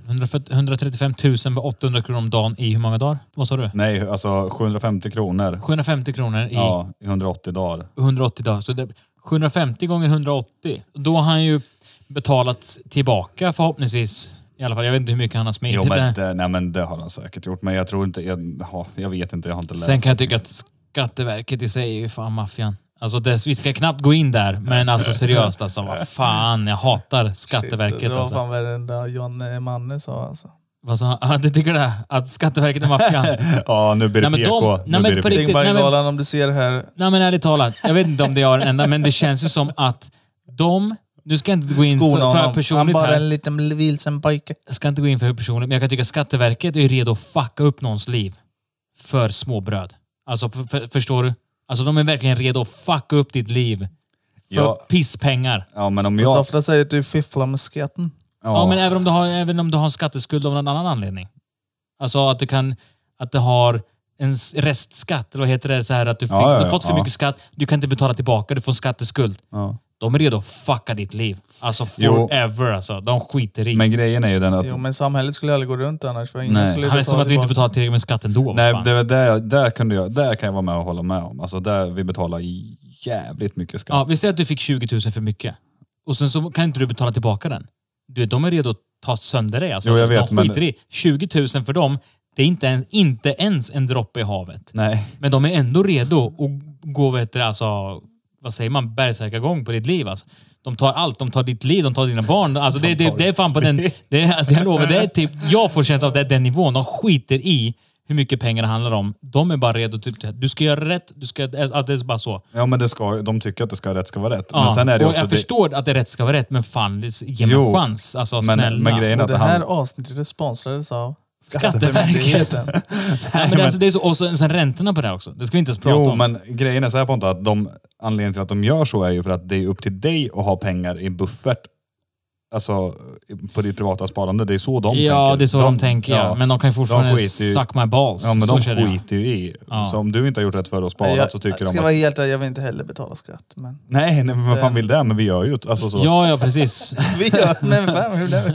140 135 000 med 800 kronor om dagen i hur många dagar? Vad sa du? Nej, alltså 750 kronor 750 kronor i ja, i 180 dagar. 180 dagar. Så det, 750 gånger 180. Då har han ju betalat tillbaka förhoppningsvis. I alla fall, jag vet inte hur mycket han har smitit. Jo, men där. det, nej, men det har han säkert gjort, men jag tror inte... Jag, ja, jag vet inte, jag har inte läst. Sen kan jag tycka att Skatteverket i sig är ju fan maffian. Alltså det, vi ska knappt gå in där, men alltså seriöst alltså. Vad fan, jag hatar Skatteverket Shit, det var alltså. fan värre än det John Manne sa alltså. Vad sa han? Ah, Du tycker det? Att Skatteverket är maffian? Ja, nu blir det Nej, men de- PK. nej, men nu blir det på PK. riktigt, nej, men- Dyngberggalan, om du ser här, Nej men ärligt talat, jag vet inte om det är jag den enda, men det känns ju som att de... Nu ska jag inte gå in skona för, för honom. Han personligt bara här. en liten vilsen pojke. Jag ska inte gå in för personligt, men jag kan tycka att Skatteverket är ju redo att fucka upp någons liv för småbröd. Alltså, för, för, förstår du? Alltså de är verkligen redo att fucka upp ditt liv för Ja. pisspengar. Ja, men om Så jag... ofta säger du att du fifflar med skatten. Ja, men även om, du har, även om du har en skatteskuld av någon annan anledning. Alltså att du kan... Att du har en s- restskatt, eller vad heter det? Så här att du, fick, Ja, ja, du har ja, fått för ja. mycket skatt, du kan inte betala tillbaka, du får en skatteskuld. Ja. De är redo att fucka ditt liv. Alltså Jo. forever alltså. De skiter i. Men grejen är ju den att... Jo, men samhället skulle aldrig gå runt annars. För ingen Nej. skulle Han är som att vi inte tillbaka. betalar tillräckligt med skatt ändå. vad Nej, fan. det var där, där, kunde jag, där kan jag vara med och hålla med om. Alltså där vi betalar jävligt mycket skatt. Ja, vi säger att du fick 20 000 för mycket. Och sen så kan inte du betala tillbaka den. Du vet, de är redo att ta sönder dig. Alltså. Jo, jag vet, de skiter men- i. 20 000 för dem, det är inte ens, inte ens en droppe i havet. Nej. Men de är ändå redo att gå, vet du, alltså, vad säger man, bergsärkagång på ditt liv. Alltså. De tar allt. De tar ditt liv, de tar dina barn. Alltså, det, det, det är fan på den... Det är, alltså, jag lovar, det är typ, jag får känslan av att det är den nivån. De skiter i hur mycket pengar det handlar om. De är bara redo. Typ, du ska göra rätt. Du ska, att det är bara så. Ja, men det ska, de tycker att det ska rätt ska vara rätt. Ja, Men sen är det och också... jag det, förstår att det rätt ska vara rätt, men fan, det- ge mig en Jo, chans. Alltså, snälla. men, men grejen är Och att det han... här avsnittet sponsrades av Skatteverket. Nej, men men- alltså, det är så, och sen, sen räntorna på det här också. Det ska vi inte ens prata Jo, om. men grejen är så här Pontus, att de, anledningen till att de gör så är ju för att det är upp till dig att ha pengar i buffert. Alltså på ditt privata sparande. Det är så de tänker. ja, det är så de, tänker. Ja. Men de kan ju fortfarande skiter ju- suck my balls. Ja, men så de känner jag. skiter ju i. Så om du inte har gjort rätt för att spara så tycker jag ska de vara att... helt ärlig, jag vill inte heller betala skatt. Men Nej, nej, men vad fan vill det? Men vi gör ju ett- alltså så. Ja, ja, precis. vi gör... Nej, men fan, hur det är.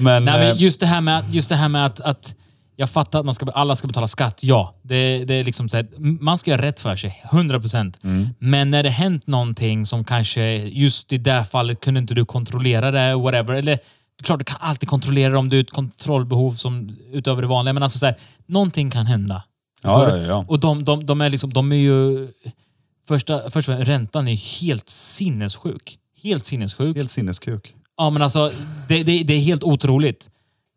Men, Nej, eh, men just det här med, just det här med att, att jag fattar att man ska, alla ska betala skatt. Ja, det, det är liksom så här, man ska göra rätt för sig. 100 procent. Mm. Men när det hänt någonting som kanske just i det här fallet kunde inte du kontrollera det, whatever. Eller klart, du kan alltid kontrollera det om du har ett kontrollbehov som utöver det vanliga. Men alltså så här, någonting kan hända. ja, ja, ja. Och de, de, de är liksom, de är ju... Första, först och främst, räntan är helt sinnessjuk. Helt sinnessjuk. Helt sinneskuk. Ja, men alltså, det, det, det är helt otroligt.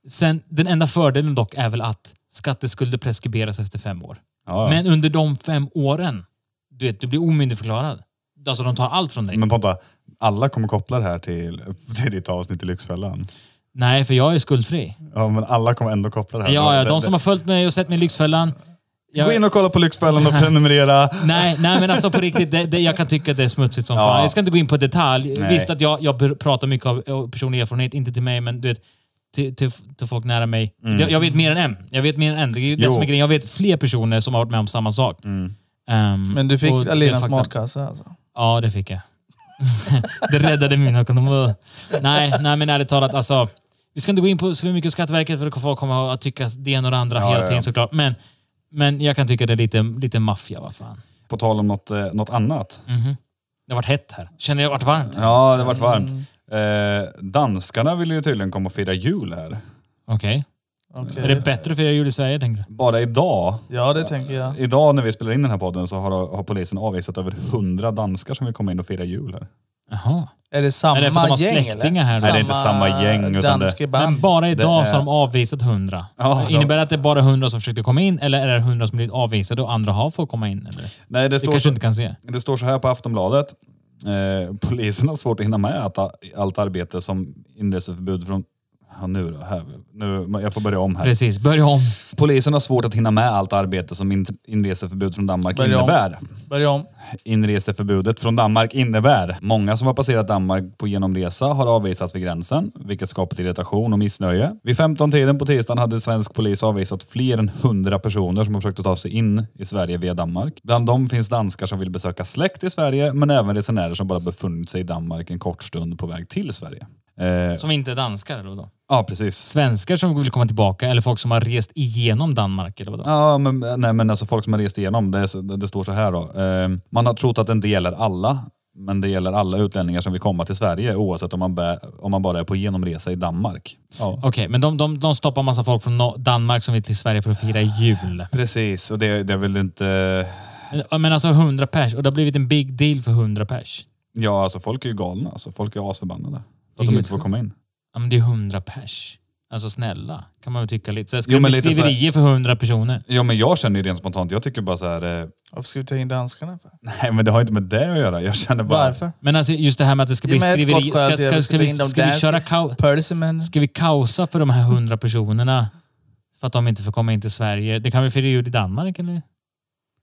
Sen, den enda fördelen dock är väl att skatteskulder preskriberas efter fem år. Ja, ja. Men under de fem åren, du vet, du blir omyndigförklarad. Alltså de tar allt från dig. Men Ponta, alla kommer koppla det här till, till ditt avsnitt i Lyxfällan. Nej, för jag är skuldfri. Ja, men alla kommer ändå koppla det här. Ja, ja, Det- de som har följt mig och sett mig i Lyxfällan. det- Gå Jag, in och kolla på Lyxfällan och prenumerera. nej, nej, men alltså på riktigt, det, det, jag kan tycka att det är smutsigt som Ja. fan. Jag ska inte gå in på detalj. Nej. Visst att jag, jag ber- pratar mycket av av personlig erfarenhet, inte till mig, men du vet, till, till, till folk nära mig. Jag, jag vet mer än en. Jag vet mer än en. Det är det Mm. Jo. Mm. som är grejen. Jag vet fler personer som har varit med om samma sak. Ehm, Men du och fick det Alinas faktum- matkassa alltså. Ja, det fick jag. det räddade min ekonomi. Nej, nej, men ärligt talat, alltså. Vi ska inte gå in på så mycket Skatteverket för att folk kommer att tycka det ena och det andra hela ja, tiden ja. såklart. Men, men jag kan tycka det är lite, lite maffia, vad fan. På tal om något, eh, något annat. Mm. Det har varit hett här. Känner jag varit varmt. Ja, det vart varmt. Eh, danskarna ville ju tydligen komma och fira jul här. Okej. Okej. Eh, Är det bättre att fira jul i Sverige, tänker du? Bara idag, Ja, det tänker jag. idag när vi spelar in den här podden så har, har polisen avvisat över 100 danskar som vill komma in och fira jul här. Jaha. Är det samma Är det för att de har gäng släktingar eller? här då? Nej, det är inte samma gäng, utan det- danske band. Men bara idag Det så har är- de avvisat 100. Ja, de- Innebär det att det är bara 100 som försökte komma in eller är det 100 som blivit avvisade och andra har fått komma in? Eller? Nej, det Vi står, kanske så, inte kan se. det står så här på Aftonbladet. Eh, polisen har svårt att hinna med att, allt arbete som inreseförbud från... Ja, nu då, här, nu, jag får börja om här. Precis, börja om. Polisen har svårt att hinna med allt arbete som in, inreseförbud från Danmark Börja om. innebär. Börja om. inreseförbudet från Danmark innebär. Många som har passerat Danmark på genomresa har avvisats vid gränsen, vilket skapat irritation och missnöje. Vid 15-tiden på tisdagen hade svensk polis avvisat fler än 100 personer som har försökt att ta sig in i Sverige via Danmark. Bland dem finns danskar som vill besöka släkt i Sverige, men även resenärer som bara befunnit sig i Danmark en kort stund på väg till Sverige. Eh, Som inte är danskar eller vadå? ja, precis. Svenskar som vill komma tillbaka eller folk som har rest igenom Danmark eller vadå? Ja, men, nej, men alltså folk som har rest igenom, det, är så- det står så här då. Eh, man har trott att det inte gäller alla, men det gäller alla utlänningar som vill komma till Sverige oavsett om man, bä, om man bara är på genomresa i Danmark. Ja. Okej, men de, de, de stoppar massa folk från no- Danmark som vill till Sverige för att fira jul. Precis, och det, det är väl inte... Men, men alltså 100 pers och det har blivit en big deal för 100 pers. Ja, alltså folk är ju galna. Alltså, folk är asförbannade. För att Vilket de inte får sjukt. komma in. Ja, men det är 100 pers. Alltså snälla, kan man väl tycka lite. Så här, ska Jo, det men bli lite så här- skriverier för 100 personer? Ja, men jag känner ju rent spontant, jag tycker bara så här... Eh, Varför ska vi ta in danskarna? För? nej, men det har inte med det att göra. Jag känner bara... Varför? Men alltså just det här med att det ska Ge bli mig ett gott skriverier. skäl Ska, till ska, att vi ska, vi, ta in ska, de vi köra danska- kaos? Persimmon. Ska vi kaosa för de här 100 personerna? För att de inte får komma in till Sverige? Det kan vi fira jul i Danmark eller?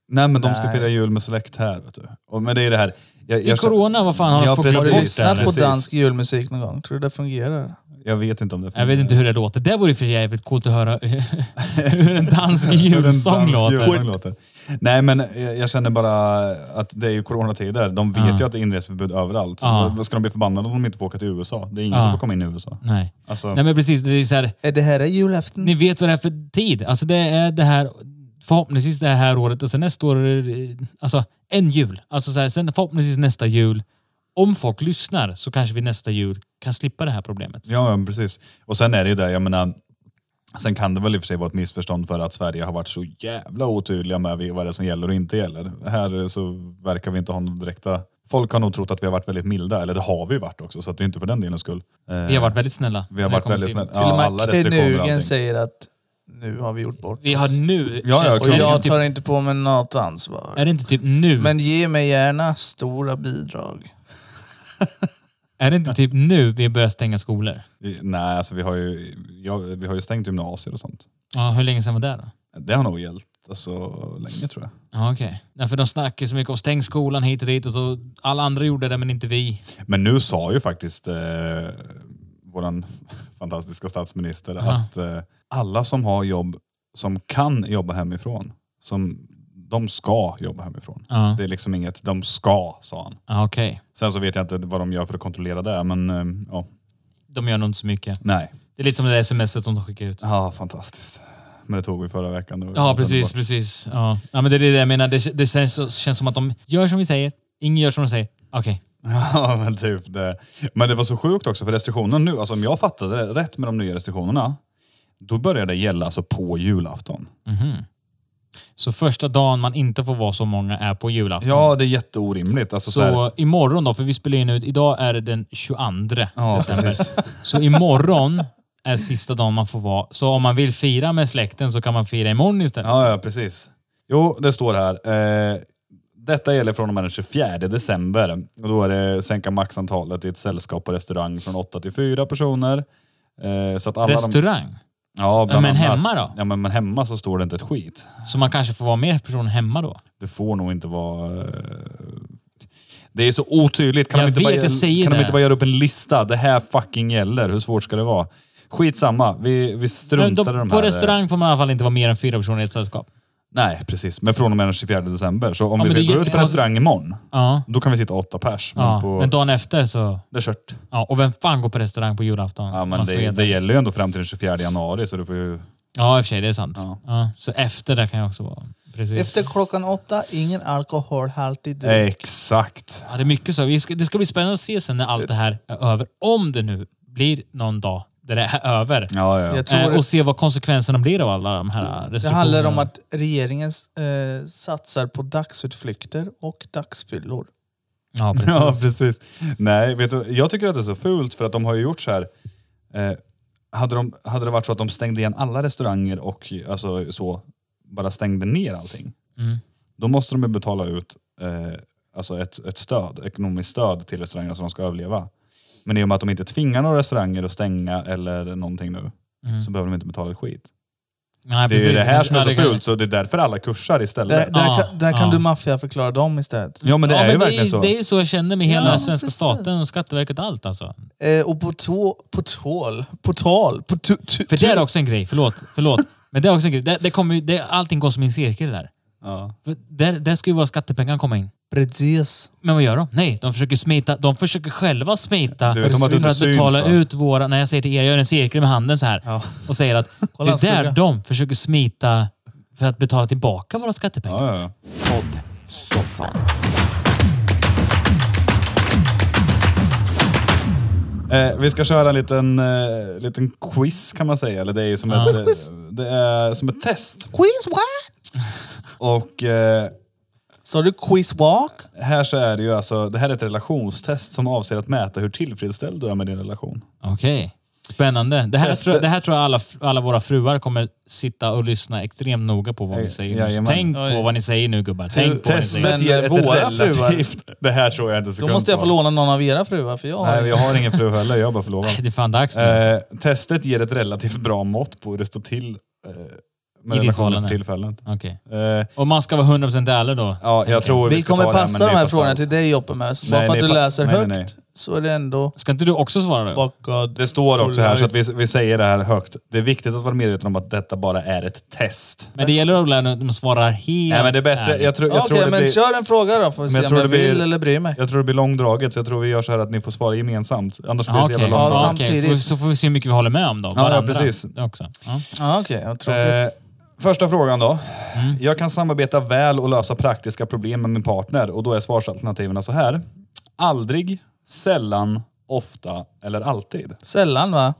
Nej, men de ska Nej. fira jul med släkt här. Vet du. Och, men det är det här... Jag, Det är jag, corona, vad fan har Ja, de fått glömma Har bort du precis. det, lyssnat på eller? Precis. dansk julmusik någon gång? Tror du det fungerar? Jag vet inte om det Jag vet inte hur det låter. Det vore för jävligt coolt att höra hur en dansk Hur en dansk julsång låter. julsång låter. Nej, men jag jag känner bara att det är ju coronatider. De vet Ja. ju att det är inreseförbud överallt. Ja. Vad ska de bli förbannade om de inte får åka till USA? Det är ingen Ja. som får komma in i USA. Nej. Alltså, Nej men precis, det är så här, Är det här är julafton? ni vet vad det är för tid. Alltså det är det här, förhoppningsvis det här året och sen nästa år, är det, alltså en jul. Alltså så här, sen förhoppningsvis nästa jul. Om folk lyssnar så kanske vi nästa jul kan slippa det här problemet. Ja, ja, precis. Och sen är det ju det, jag menar, sen kan det väl i och för sig vara ett missförstånd för att Sverige har varit så jävla otydliga med vad det är som gäller och inte gäller. Här så verkar vi inte ha några direkta... Folk har nog trott att vi har varit väldigt milda, eller det har vi ju varit också, så att det är inte för den delen skull. Eh, Vi har varit väldigt snälla. vi när har det varit kommer väldigt till- snälla. Till och Ja, alla med restriktioner och knugen allting. säger att nu har vi gjort bort Vi har oss. nu... Ja, känns ja, Och det klar. som jag typ, tar inte på mig något ansvar. Är det inte typ nu? Men ge mig gärna stora bidrag. Är det inte typ nu vi börjar stänga skolor? I- Nej, alltså vi har ju, ja, vi har ju stängt gymnasier och sånt. Ja, hur länge sedan var det då? Det har nog gällt alltså, länge tror jag. Ja, okej. Nej, för de snackar så mycket om stäng skolan hit och dit och så alla andra gjorde det men inte vi. Men nu sa ju faktiskt eh, vår fantastiska statsminister att eh, alla som har jobb, som kan jobba hemifrån, som, de ska jobba hemifrån. Ja. Det är liksom inget, de ska, sa han. Ja, okej. Sen så vet jag inte vad de gör för att kontrollera det, men eh, ja, De gör nog inte så mycket. nej. Det är lite som det där smset som de skickar ut. Ja, fantastiskt. Men det tog vi förra veckan. Det var Ja, helt precis, underbart. precis. Ja. ja, men det är det jag menar. Det, det känns, känns som att de gör som vi säger, ingen gör som de säger. Okej. Ja, men typ det. Men det var så sjukt också, för restriktionen nu, alltså om jag fattade det rätt med de nya restriktionerna, då började det gälla alltså på julafton. Så första dagen man inte får vara så många är på julafton. Ja, Mm. det är jätteorimligt. Alltså, så här, Så imorgon då, för vi spelar in ut, idag är det den 22 ja, december. precis. Så imorgon är sista dagen man får vara. Så om man vill fira med släkten så kan man fira imorgon istället. Ja, ja, precis. Jo, det står här. Eh, detta gäller från och med den 24 december. Och då är det sänka maxantalet i ett sällskap på restaurang från 8 till 4 personer. Eh, så att alla de, Restaurang. ja, bland men annat. hemma då? Ja, men, men hemma så står det inte ett skit. Så man kanske får vara mer personer hemma då. Du får nog inte vara... eh, Det är så otydligt. Kan, Jag de inte, vet, bara, jag säger kan de det. inte bara göra upp en lista? Det här fucking gäller. Hur svårt ska det vara? Skitsamma. Vi, vi Men struntar de, i de här... eh, på restaurang får man i alla fall inte vara mer än fyra personer i ett sällskap. Nej, precis. Men från och med den 24 december. Så om Ja, vi men ska det gå gäller- ut på restaurang imorgon, Ja. då kan vi sitta åtta pers. Men ja. på... Men dagen efter så... Det är kört. Ja, och vem fan går på restaurang på julafton? Ja, men Man ska det, veta. det gäller ju ändå fram till den 24 januari, så du får ju... ja, i och för sig, det är sant. Ja. Ja. Så efter det kan jag också vara. Precis. Efter klockan åtta, ingen alkoholhaltig dryck. Exakt. Ja, det är mycket så. Vi ska, det ska bli spännande att se sen när allt det här är över. Om det nu blir någon dag där det är över. Ja, ja. Jag tror Eh, och se vad konsekvenserna blir av alla de här det restriktionerna. handlar om att regeringen eh, satsar på dagsutflykter och dagsfyllor. Ja, precis. Ja, precis. Nej, vet du, jag tycker att det är så fult för att de har ju gjort så här. Eh, hade, de, hade det varit så att de stängde igen alla restauranger och alltså, så, bara stängde ner allting. Mm. Då måste de ju betala ut eh, alltså ett, ett stöd, ekonomiskt stöd till restaurangerna så de ska överleva. Men i och med att de inte tvingar några restauranger att stänga eller någonting nu Mm. så behöver de inte betala ett skit. Nej, Det är ju det här som är Ja, så kan- fult så det är därför alla kursar istället. Där, där, Ja, kan, där kan ja. du maffia förklara dem istället. Ja men det ja, är men ju det, verkligen är, så. det är ju så jag känner med hela Ja, svenska precis. staten och Skatteverket och allt alltså. Eh, och på, tå, på tål, på tal, på tu, För tu, det tu- är också en grej, förlåt. förlåt. Men det är också en grej. Det, det kommer, ju- det, allting går som i en cirkel där. Ja. För Där, där ska ju våra skattepengar komma in. Precis. Men vad gör de? Nej, de försöker smita. De försöker själva smita Du vet om att du för inte att syns, betala va? ut våra... När jag säger till er, jag gör en cirkel med handen så här och säger att det Kolla är hans där skugga. de försöker smita för att betala tillbaka våra skattepengar. Ja, ja, ja. Poddsoffan. Eh, vi ska köra en liten, eh, liten quiz kan man säga. Eller det är ju som, ett, eh, Quiz, Det är som ett test. Quiz what? Och eh, Sa du quiz walk? här så är det ju alltså, det här är ett relationstest som avser att mäta hur tillfredsställd du är med din relation. Okej. Spännande. Det här, Testa. tror, jag- det här tror jag alla, alla våra fruar kommer sitta och lyssna extremt noga på vad vi Ja, säger. nu. Så jajamän. Tänk på vad ni säger nu gubbar. Tänk på vad ni säger. Testet Men ger ett våra fruar- relativt... Det här tror jag inte Då sekund måste jag få på. låna någon av era fruar för jag har Nej, jag har ingen fru heller. Jag är bara förlovad. Det är fan dags nu. alltså. Eh, testet ger ett relativt bra mått på hur det står till eh, med ditt relationen förhållande. för tillfället. Okej. Eh, Och man ska vara 100% ärlig då? ja, jag tror Vi ska kommer ta det här med passa en de här nypa frågorna salt. till dig Joppe Mös. Bara Nej, för att du nypa- läser nej, högt nej, nej. så är det ändå... Ska inte du också svara nu? Fuck God. Det står också här, så att vi, vi säger det här högt. Det är viktigt att vara medveten om att detta bara är ett test. Men det gäller att lära att de svarar helt Nej men det är bättre. ärligt. Jag tror, jag Okej, tror det men blir, kör en fråga då. Får vi jag se om tror jag det blir- vill eller bryr mig. jag tror det blir långdraget, så jag tror vi gör så här att ni får svara gemensamt. Annars blir Ja, Ah, det så okej. jävla Ja, långt. Ja, okej. samtidigt. Så, får vi- så får vi se hur mycket vi håller med om då. ja, varandra. precis. Det också. Ja. Ja, okej. ja, tråkigt. Eh, första frågan då. Jag kan samarbeta väl och lösa praktiska problem med min partner och då är svarsalternativen så här. Aldrig, sällan, ofta eller alltid. Sällan va?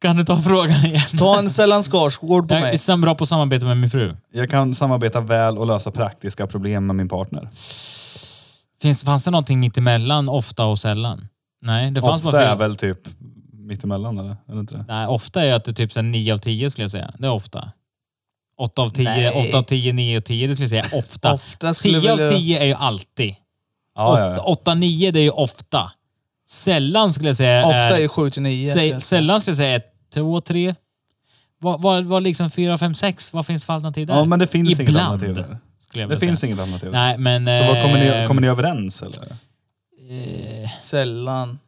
Kan du ta frågan igen? Ta en sällan Skarsgård på Jag är mig. sen bra på samarbete med min fru. Jag kan samarbeta väl och lösa praktiska problem med min partner. Finns, fanns det någonting mitt emellan ofta och sällan? Nej, det fanns Ofta är fel. väl typ mittemellan eller? eller inte det? Nej, ofta är att det typ 9 av 10 skulle jag säga. Det är ofta. 8 av 10, Nej. 8 av 10, 9 av 10, det skulle jag säga ofta. Ofta skulle 10 av väl jag- 10 är ju alltid. Ja, ja, 8, ja. 9 det är ju ofta. Sällan skulle jag säga Ofta är 7 till 9. Sä- Sällan skulle jag säga 2, 3. Vad var, var liksom 4, 5, 6? Vad finns för alternativ där? Ja, men det finns inget Ibland, alternativ där. skulle jag Det vilja finns säga. inget alternativ. Nej, men... Så vad, kommer, ni, eh, kommer ni överens eller? Sällan.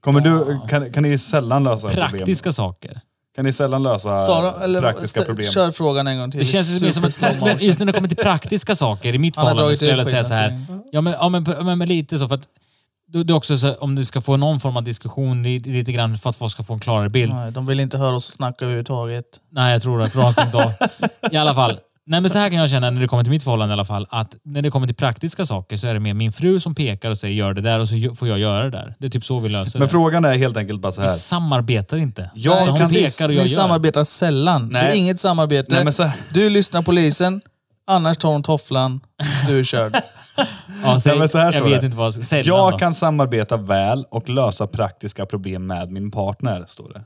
Kommer du, kan, kan ni sällan lösa problem? praktiska saker. Kan ni sällan lösa Sara, eller praktiska stä- problem? kör frågan en gång till. Det känns ju som super slow motion. att, just när det kommer till praktiska saker, i mitt Han har förhållande dragit skulle jag vilja säga ut så här. skillnaden, Ja men, ja, men, men, men lite så för att du, du också så här, om du ska få någon form av diskussion li- lite grann för att folk ska få en klarare bild. Nej, de vill inte höra oss snacka överhuvudtaget. Nej, jag tror det. För de har stängt av. I alla fall. Nej, men så här kan jag känna när det kommer till mitt förhållande i alla fall. Att när det kommer till praktiska saker så är det mer min fru som pekar och säger gör det där och så gö- får jag göra det där. Det är typ så vi löser Men det. frågan är helt enkelt bara så Vi här. samarbetar inte. Jag Utan hon kan- pekar och jag Ni gör. samarbetar sällan. Det är Nej. inget samarbete. Nej, men så- Du lyssnar polisen, annars tar hon tofflan. Du är körd. Ja, säg, Nej, men så här jag står vet det. inte vad jag ska säga. Jag kan samarbeta väl och lösa praktiska problem med min partner, står det.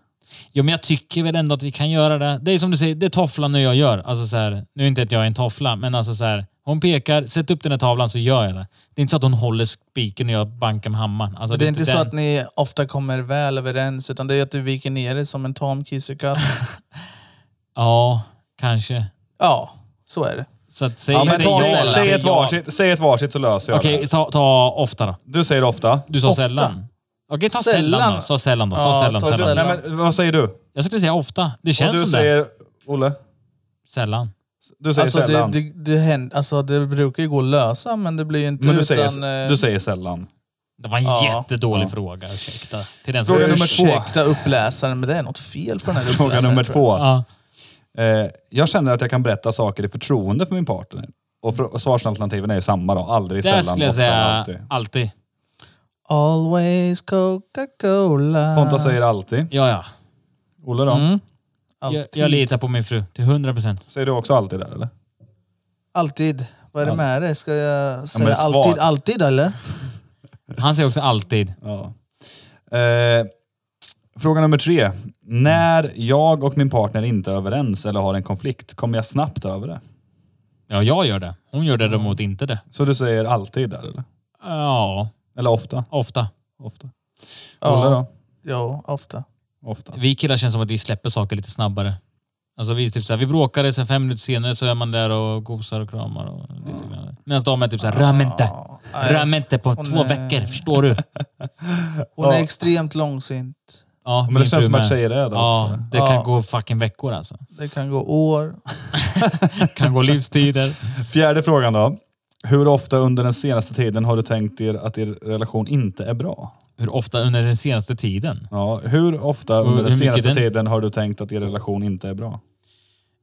Jo, men jag tycker väl ändå att vi kan göra det. Det är som du säger, det är tofflan och jag gör. Alltså så här, nu är inte att jag är en toffla, men alltså så här. Hon pekar, sätt upp den här tavlan så gör jag det. Det är inte så att hon håller spiken och jag bankar med hammaren. Alltså, Det är inte så den- att ni ofta kommer väl överens, utan det är att du viker ner dig som en tam kissekatt. Ja, kanske. Ja, så är det. Så att, säg, Ja, men säg ta, ja, säg, eller säg, säg ett ja. varsitt, säg ett varsitt så löser jag Okej, det. ta, ta ofta då. Du säger ofta. Du sa Ofta. sällan. Okej, ta sällan, Sällan. då. Så sällan då. Ta Ja, sällan, ta sällan. sällan. Nej, men, vad säger du? Och Jag skulle säga ofta. Det känns du som det. säger, Olle? Sällan. Du säger Alltså det, sällan. det, det händer, alltså det brukar ju gå att lösa, men det blir ju inte men du utan... säger, eh, du säger sällan. Det var en Ja. jättedålig fråga. Ursäkta. Till den som... Fråga nummer två. Ursäkta uppläsaren, men det är något fel på den här uppläsaren. Fråga nummer tror jag. två. Ja. Eh, jag känner att jag kan berätta saker i förtroende för min partner. Och, för, och svarsalternativen är ju samma då. Aldrig, Där sällan, skulle jag ofta, säga alltid. alltid. Always Coca-Cola. Ponta säger alltid. Ja, ja. Olle då? Mm. Jag, Alltid. jag litar på min fru till 100 procent. Säger du också alltid där eller? Alltid. Vad är det med dig? Ska jag säga men svar. alltid, alltid eller? Han säger också alltid. Ja. Eh, fråga nummer tre. När jag och min partner inte är överens eller har en konflikt, kommer jag snabbt över det? Ja, jag gör det. Hon gör det däremot inte det. Så du säger alltid där eller? Ja, Eller ofta? ofta. Ofta. Ja. Olle då? Jo, ofta. Ofta. Vi killar känns som att vi släpper saker lite snabbare. Alltså vi, är typ såhär, vi bråkade, sen fem minuter senare så är man där och gosar och kramar. Och lite grann. Medan damen är typ såhär, rör mig inte. Rör mig inte på två nej. veckor, förstår du? Hon är extremt långsint. Ja, Men min det känns fru som att med. tjejer är det. Ja, också. det kan Ja. gå fucking veckor alltså. Det kan gå år. kan gå livstider. Fjärde frågan då. Hur ofta under den senaste tiden har du tänkt er att er relation inte är bra? Hur ofta under den senaste tiden? Ja, hur ofta under hur den mycket senaste den? tiden har du tänkt att er relation inte är bra?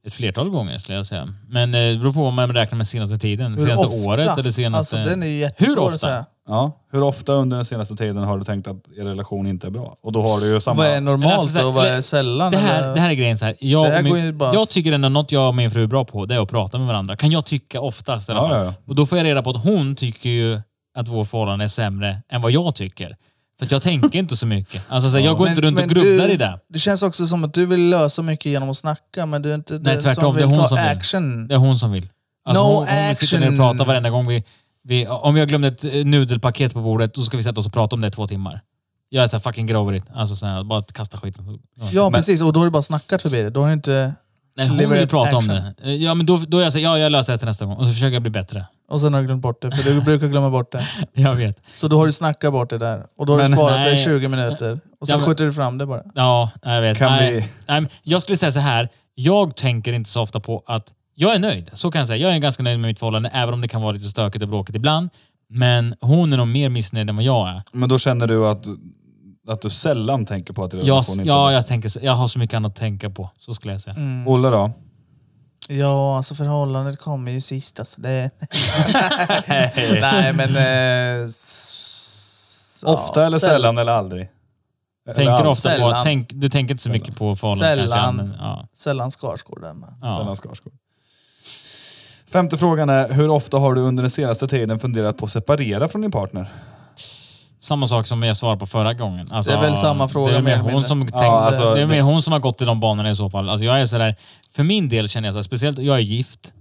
Ett flertal gånger skulle jag säga. Men eh, det beror på om man räknar med senaste tiden. Hur senaste ofta? året eller senaste... Alltså den är ju Hur jättesvår ofta? att säga. Ja, hur ofta under den senaste tiden har du tänkt att er relation inte är bra? Och då har du ju samma... Vad är normalt Alltså, så här, och vad det- är sällan? Det här, eller? det här är grejen så här. Jag, Det här och går min, ju bara- jag tycker ändå något jag och min fru är bra på, det är att prata med varandra. Kan jag tycka oftast i alla Ja, fall. ja, ja. Och då får jag reda på att hon tycker ju att vår förhållande är sämre än vad jag tycker. För att jag tänker inte så mycket. Alltså, så här, jag går inte runt och grubblar du, i det. Det känns också som att du vill lösa mycket genom att snacka, men du är inte Nej, den tvärtom. som Det är vill hon ta som vill. action. Det är hon som vill. Alltså, No hon, hon vill sitta ner och action. prata varenda gång vi, vi... Om jag glömde ett eh, nudelpaket på bordet, då ska vi sätta oss och prata om det i två timmar. Jag är såhär fucking get over it. Alltså såhär, bara kasta skiten. Ja, precis. Och då har du bara snackat förbi det. Då har du inte... Nej, hon Lever vill ett prata om action. det. Eh, Ja, men då, då är jag såhär, ja jag löser det till nästa gång. Och så försöker jag bli bättre. Och sen har du glömt bort det, för du brukar glömma bort det. Jag vet. Så då har du snackat bort det där. Och då har Men du sparat det i nej. 20 minuter. Och sen Ja, men- skjuter du fram det bara. Ja, jag vet. Kan nej, vi- nej, men jag skulle säga så här. Jag tänker inte så ofta på att jag är nöjd. Så kan jag säga. Jag är ganska nöjd med mitt förhållande, även om det kan vara lite stökigt och bråkigt ibland. Men hon är nog mer missnöjd än vad jag är. Men då känner du att, att du sällan tänker på att din Jag, relation inte... Mm. ja, jag, tänker, så- jag har så mycket annat att tänka på. Så skulle jag säga. Olle då? Ja, alltså förhållandet kommer ju sist alltså. Det... Nej, men... Eh, s- Ofta ja, eller sällan eller aldrig? Tänker ofta på, sällan. tänk, du tänker inte så mycket på förhållandet Sällan. kanske. men, Ja, Sällan Skarsgård där med. ja. Stellan Skarsgård. Femte frågan är, hur ofta har du under den senaste tiden funderat på att separera från din partner? Samma sak som jag svarade på förra gången. Alltså, Det är väl samma fråga Det är, mer mer eller hon, mindre. som tänkt, alltså, det är mer det- hon som har gått i de banorna i så fall. Alltså, jag är sådär, för min del känner jag så här, speciellt, jag är gift.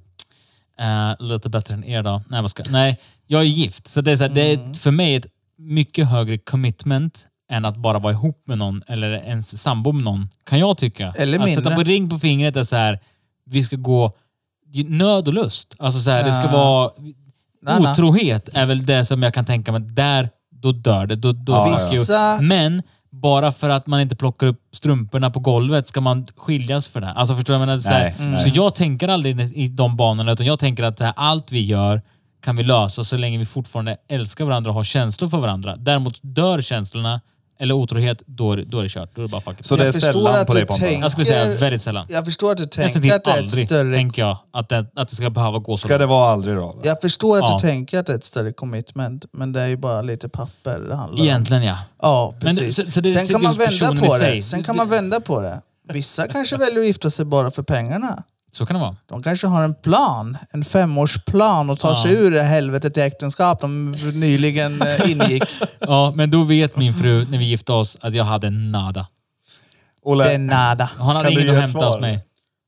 Eh, lite bättre än er då. Nej, vad ska, nej jag är gift. Så det är, så här, det Mm. är för mig ett mycket högre commitment än att bara vara ihop med någon eller ens sambo med någon, kan jag tycka. Eller att mindre. sätta på ring på fingret är så här, vi ska gå i nöd och lust. Alltså så här, det ska Ja. vara... Nej, nej. Otrohet är väl det som jag kan tänka mig, där, då dör det. Då, då Ja, fick ju- vissa- Men bara för att man inte plockar upp strumporna på golvet ska man skiljas för det. Alltså förstår du vad jag menar? Så, här, Nej, nej. så jag tänker aldrig i- i de banorna, utan jag tänker att det här, allt vi gör kan vi lösa så länge vi fortfarande älskar varandra och har känslor för varandra. Däremot dör känslorna, eller otrohet, då är, det- då är det kört. Då är det bara fuck it. Så det är sällan på dig Pontus? Jag skulle säga väldigt sällan. Jag förstår att du Nästan tänker till att det är ett typ aldrig, större... tänker jag, att det, att det ska behöva gå så Ska långt. det vara aldrig då? eller? Jag förstår att Ja. du tänker att det är ett större commitment, men det är ju bara lite papper det handlar om. Egentligen ja. Ja, Men precis. det- så- så det Sen sitter kan man ju hos vända personen på i sig. det. Sen kan man vända på det. Vissa kanske väljer att gifta sig bara för pengarna. Så kan det vara. De kanske har en plan, en femårsplan och tar sig ur det helvetet i äktenskap de nyligen eh, ingick. Ja, men då vet min fru när vi gifte oss att jag hade nada. Olle, Det är nada. Hon hade Kan du inget ge att ett hämta svar? hos mig.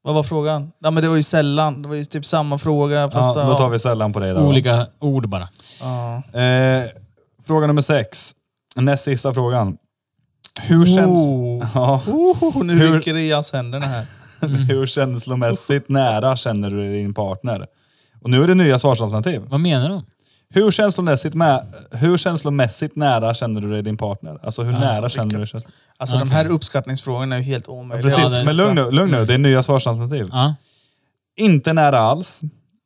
Vad var frågan? Ja, men det var ju sällan. Det var ju typ samma fråga. Fast ja, då tar vi sällan på dig där. då. Olika ord bara. Ja. Eh, fråga nummer sex. Näst sista frågan. Hur, käns Oh. ja, Oh, nu Hur- rycker det i hans händerna här. hur känslomässigt nära känner du din partner? Och nu är det nya svarsalternativ. Vad menar du? Hur känslomässigt, mä- hur känslomässigt nära känner du dig din partner? Alltså hur Alltså, nära känner vilka- du känslan? Alltså de här uppskattningsfrågorna är ju helt omöjliga. Precis, det- men lugn nu, lugn Mm. nu. Det är nya svarsalternativ. Ja. Inte nära alls,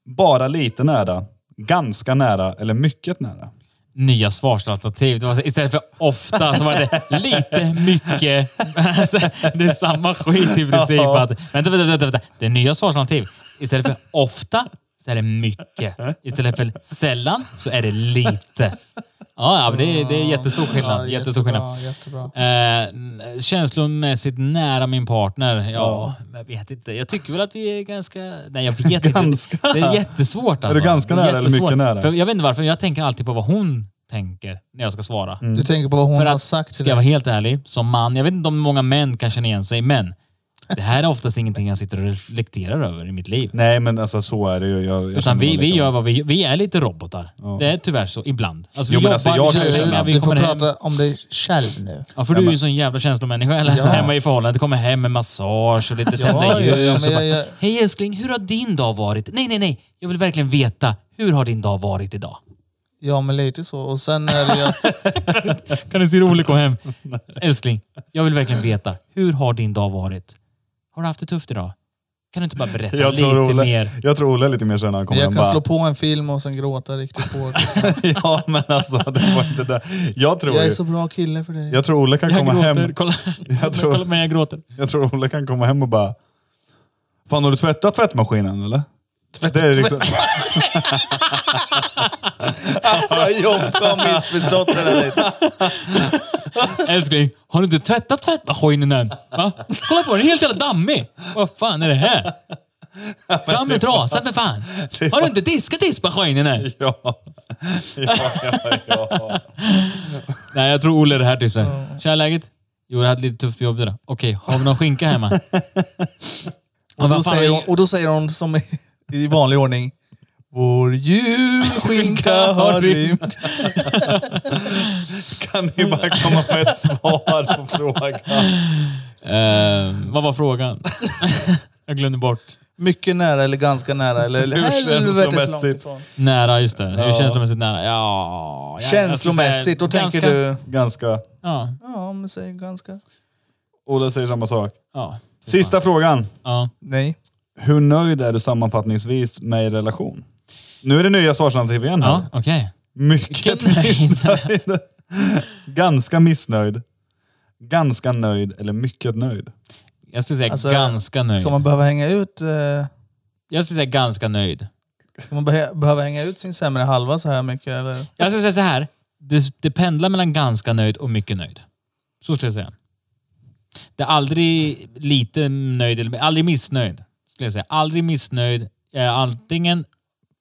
bara lite nära, ganska nära eller mycket nära. Nya svarsalternativ. Det var så, istället för ofta så var det lite, mycket. Alltså, det är samma skit i princip. Ja. Att, vänta, vänta, vänta, vänta. Det är nya svarsalternativ. Istället för ofta så är det mycket. Istället för sällan så är det lite. Ja, ja men det, är, det är jättestor skillnad. Ja, Mm. jättestor skillnad. jättebra, jättebra. Eh, känslomässigt nära min partner? Ja, jag vet inte. Jag tycker väl att vi är ganska... Nej, jag vet Ganska. inte. Det är jättesvårt alltså. Är du ganska Det nära eller mycket jättesvårt. nära? För jag vet inte varför, jag tänker alltid på vad hon tänker när jag ska svara. Mm. Du tänker på vad hon För har att, sagt till ska jag vara helt ärlig, som man, jag vet inte om många män kan känna igen sig, men det här är oftast ingenting jag sitter och reflekterar över i mitt liv. Nej, men alltså så är det ju. Jag, jag Utan känner liksom- vi, väl vi lika. gör vad vi Vi är lite robotar. Det är tyvärr så ibland. Alltså, vi Jo, men jobbar, alltså, jag vi kan ju tjänar känna- pengar, vi Du får kommer hem. prata om dig själv nu. Ja, för du är ju en sån jävla känslomänniska. Eller hemma i förhållandet. Kommer hem med massage och lite tända ja, ja, ljus. och men bara, jag- jag- Hej älskling, hur har din dag varit? Nej, nej, nej. Jag vill verkligen veta. Hur har din dag varit idag? Ja, men lite så. Och sen är det ju att... Kan det se roligt gå hem? älskling, jag vill verkligen veta. Hur har din dag varit? Har du haft det tufft idag? Kan du inte bara berätta jag lite tror, Olle, mer? jag tror Olle är lite mer sen när han Men kommer jag hem. kan bara, slå på en film och sen gråta riktigt hårt. ja, men alltså det var inte det. Jag tror, Jag är ju, så bra kille för dig. jag tror Olle kan komma hem. Kolla, Jag tror- kolla mig, jag gråter. Jag tror Olle kan komma hem och bara... Fan, har du tvättat tvättmaskinen eller? Tvätt, det är liksom, Alltså Jompe har missförstått det där lite. Älskling, har du inte tvättat tvättmaskinen än? Va? Kolla på den, helt jävla dammig. Vad fan är det här? Fram med trasan för fan. Har du inte diskat diskmaskinen än? ja. Ja, ja, ja. Nej, jag tror Olle är det här typ såhär. Tjena läget? Jo, jag hade lite tufft på jobbet idag. Okej, har vi någon skinka hemma? Och då, säger hon, och då säger hon som i, i vanlig ordning. Vår julskinka har rymt. Kan ni bara komma med ett svar på frågan? Eh, vad var frågan? jag glömde bort. Mycket nära eller ganska nära eller helvetes långt känslomässigt? ifrån. Nära, just det. Hur känslomässigt nära? Ja... jag- Känslomässigt, då jag skulle säga tänker alltså ganska- du... Ganska. Ja. Ja, men säg ganska. Ola säger samma sak. Ja. Sista frågan. ja. Nej. Hur nöjd är du sammanfattningsvis med er relation? Nu är det nya svarsalternativ igen. här. Ja, okej. Mycket Vilken nöjd. missnöjd. Ganska missnöjd. Ganska nöjd eller mycket nöjd. Jag skulle säga Alltså, ganska nöjd. Ska man behöva hänga ut, eh, Jag skulle säga ganska nöjd. ska man behe- behöva hänga ut sin sämre halva så här mycket? Eller? Jag skulle säga så här. Det, det pendlar mellan ganska nöjd och mycket nöjd. Så skulle jag säga. Det är aldrig lite nöjd, eller aldrig missnöjd. Skulle jag säga. Aldrig missnöjd. Eh, Antingen ganska,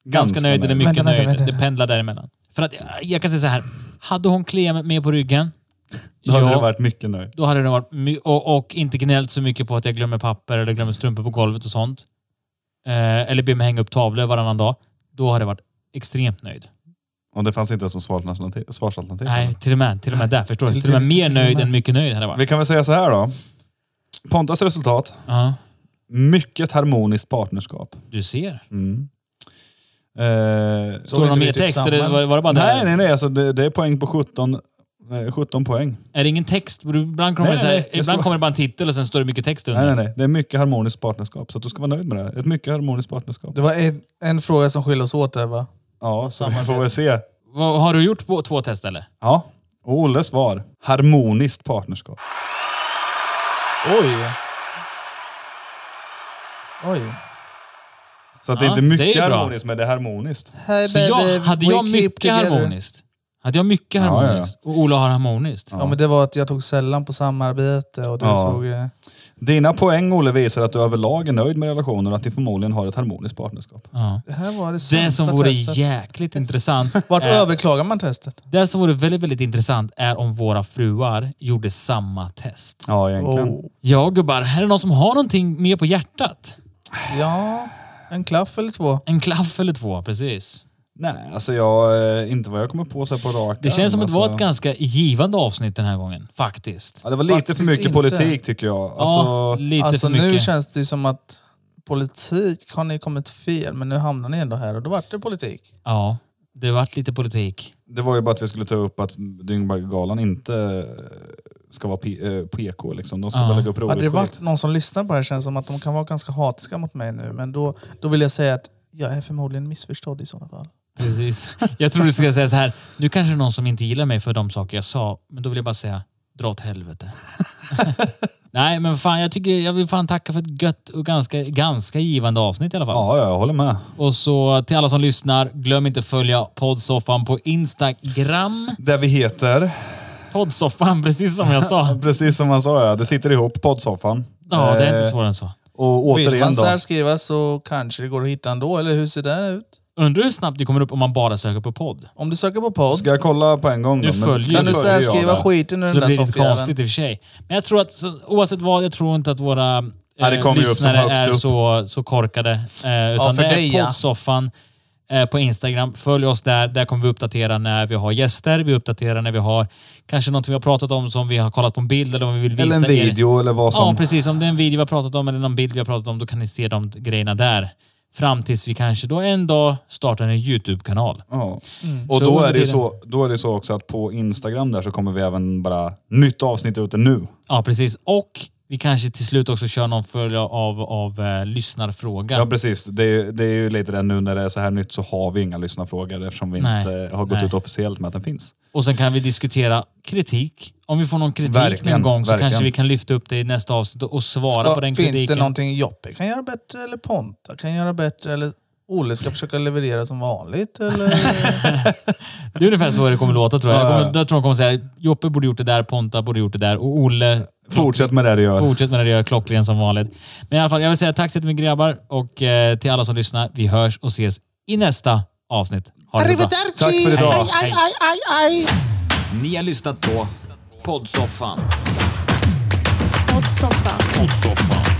Ganska nöjd eller nöjd. mycket Vänta, vänta, nöjd. vänta, Det vänta. pendlar däremellan. För att, eh, jag kan säga så här. Hade hon klia med på ryggen, Då hade ja, du varit mycket nöjd. då hade det varit... my- Och, och inte gnällt så mycket på att jag glömmer papper eller glömmer strumpor på golvet och sånt. Eh, eller ber mig hänga upp tavlor varannan dag. Då hade jag varit extremt nöjd. Och det fanns inte ens som svarsalternativ. svarsalternativ. Nej, till och med, till och med där. Förstår du? Till- Till och med till- mer till- till- nöjd till- än mycket nöjd hade jag varit. Vi kan väl säga så här då. Pontas resultat. Ja, Mycket harmoniskt partnerskap. du ser. Mm. Eh, Står det någon inte vi mer typ text? samman? Eller var, var det bara det? nej, här? nej, nej. Alltså det, det är poäng på 17, eh, 17 poäng. Är det ingen text? Ibland kommer, Nej, det, så här, nej, nej. Jag ibland står- kommer det bara en titel och sen står det mycket text under. Nej, nej, nej. Det är mycket harmoniskt partnerskap. Så att du ska vara nöjd med det. här. Ett mycket harmoniskt partnerskap. Det var en, en fråga som skiljer oss åt där va? Ja, så vi får väl se. Vad, har du gjort på, två test eller? Ja. Och Olles svar. Harmoniskt partnerskap. Oj! Oj. Så att det Ja, är inte mycket det är bra. harmoniskt, men det är harmoniskt. Hey, Så jag, hade jag mycket harmoni? harmoniskt? Hade jag mycket Ja, ja, ja. harmoniskt? Och Ola har harmoniskt? Ja, men det var att jag tog sällan på samarbete och du Ja. tog... eh, Dina poäng, Olle, visar att du överlag är nöjd med relationen och att ni förmodligen har ett harmoniskt partnerskap. Ja. Det här var det Det sämsta som vore Äh. testet. jäkligt intressant. Vart är- överklagar man testet? Det som vore väldigt, väldigt intressant är om våra fruar gjorde samma test. Ja, egentligen. Oh. Ja, gubbar. Här är någon som har någonting mer på hjärtat. Ja, en klaff eller två. En klaff eller två, precis. Nej, alltså jag... eh, Inte vad jag kommer på så här på rak Det känns som att arm, det var ett alltså. ganska givande avsnitt den här gången, faktiskt. Ja, det var lite Faktiskt för mycket inte. politik tycker jag. ja, Alltså, lite alltså för nu mycket. känns det ju som att politik har ni kommit fel, men nu hamnar ni ändå här och då vart det politik. Ja, det vart lite politik. Det var ju bara att vi skulle ta upp att Dyngbaggegalan inte eh, ska vara P- eh, PK liksom. De ska Ja. bara lägga upp roligt Hade det skit. varit någon som lyssnar på det här känns det som att de kan vara ganska hatiska mot mig nu, men då, då vill jag säga att jag är förmodligen missförstådd i sådana fall. Precis. Jag tror du ska säga så här. Nu kanske det är någon som inte gillar mig för de saker jag sa, men då vill jag bara säga dra åt helvete. Nej, men fan, jag, tycker, jag vill fan tacka för ett gött och ganska, ganska givande avsnitt i alla fall. Ja, ja, jag håller med. Och så till alla som lyssnar, glöm inte följa poddsoffan på Instagram. Där vi heter, Poddsoffan, precis som jag sa. precis som man sa, ja, det sitter ihop, poddsoffan. Ja, det är Eh, inte svårare än så. Och Vill återigen man då. särskriva så kanske det går att hitta ändå, eller hur ser det ut? Undrar hur snabbt det kommer upp om man bara söker på podd. Om du söker på podd, Ska jag kolla på en gång då? Nu Men- följer nu du. kan du Följer jag särskriva det. skiten ur Så den det där blir lite soffjäveln? konstigt i och för sig. Men jag tror att så, oavsett vad, jag tror inte att våra eh, Ja, det kommer ju upp som lyssnare högst är upp. så, så korkade. Eh, utan för det dig, är ja. poddsoffan eh, på Instagram. Följ oss där. Där kommer vi uppdatera när vi har gäster. Vi uppdaterar när vi har kanske någonting vi har pratat om som vi har kollat på en bild eller om vi vill visa Eller en er. video eller vad Ja, som... precis. Om det är en video vi har pratat om eller någon bild vi har pratat om, då kan ni se de grejerna där. Fram tills vi kanske då en dag startar en YouTube-kanal. Ja. Och Mm. Så då under är, det ju tiden- så, då är det så också att på Instagram där så kommer vi även bara nytt avsnitt ute nu. Ja, precis. Och vi kanske till slut också kör någon följd av, av eh, lyssnarfråga. Ja, precis. Det är, ju- det är ju lite det nu när det är så här nytt så har vi inga lyssnarfrågor eftersom vi Nej. inte har gått Nej. ut officiellt med att den finns. Och sen kan vi diskutera kritik. Om vi får någon kritik någon Verkligen, gång så verkligen. kanske vi kan lyfta upp det i nästa avsnitt och och svara Ska- på den finns kritiken. det någonting Joppe kan göra bättre eller Ponta kan göra bättre eller Olle ska försöka leverera som vanligt eller? Det är ungefär så det kommer låta tror jag. Jag, Ja, ja. kommer, jag tror de kommer säga Joppe borde gjort det där, Ponta borde gjort det där och Olle Fortsätt med det du gör. fortsätt med det du gör klockren som vanligt. Men i alla fall, jag vill säga tack så jättemycket grabbar och eh, till alla som lyssnar. Vi hörs och ses i nästa avsnitt. Ha det så bra. Tack för idag. Ni har lyssnat på Poddsoffan. Poddsoffan. Poddsoffan.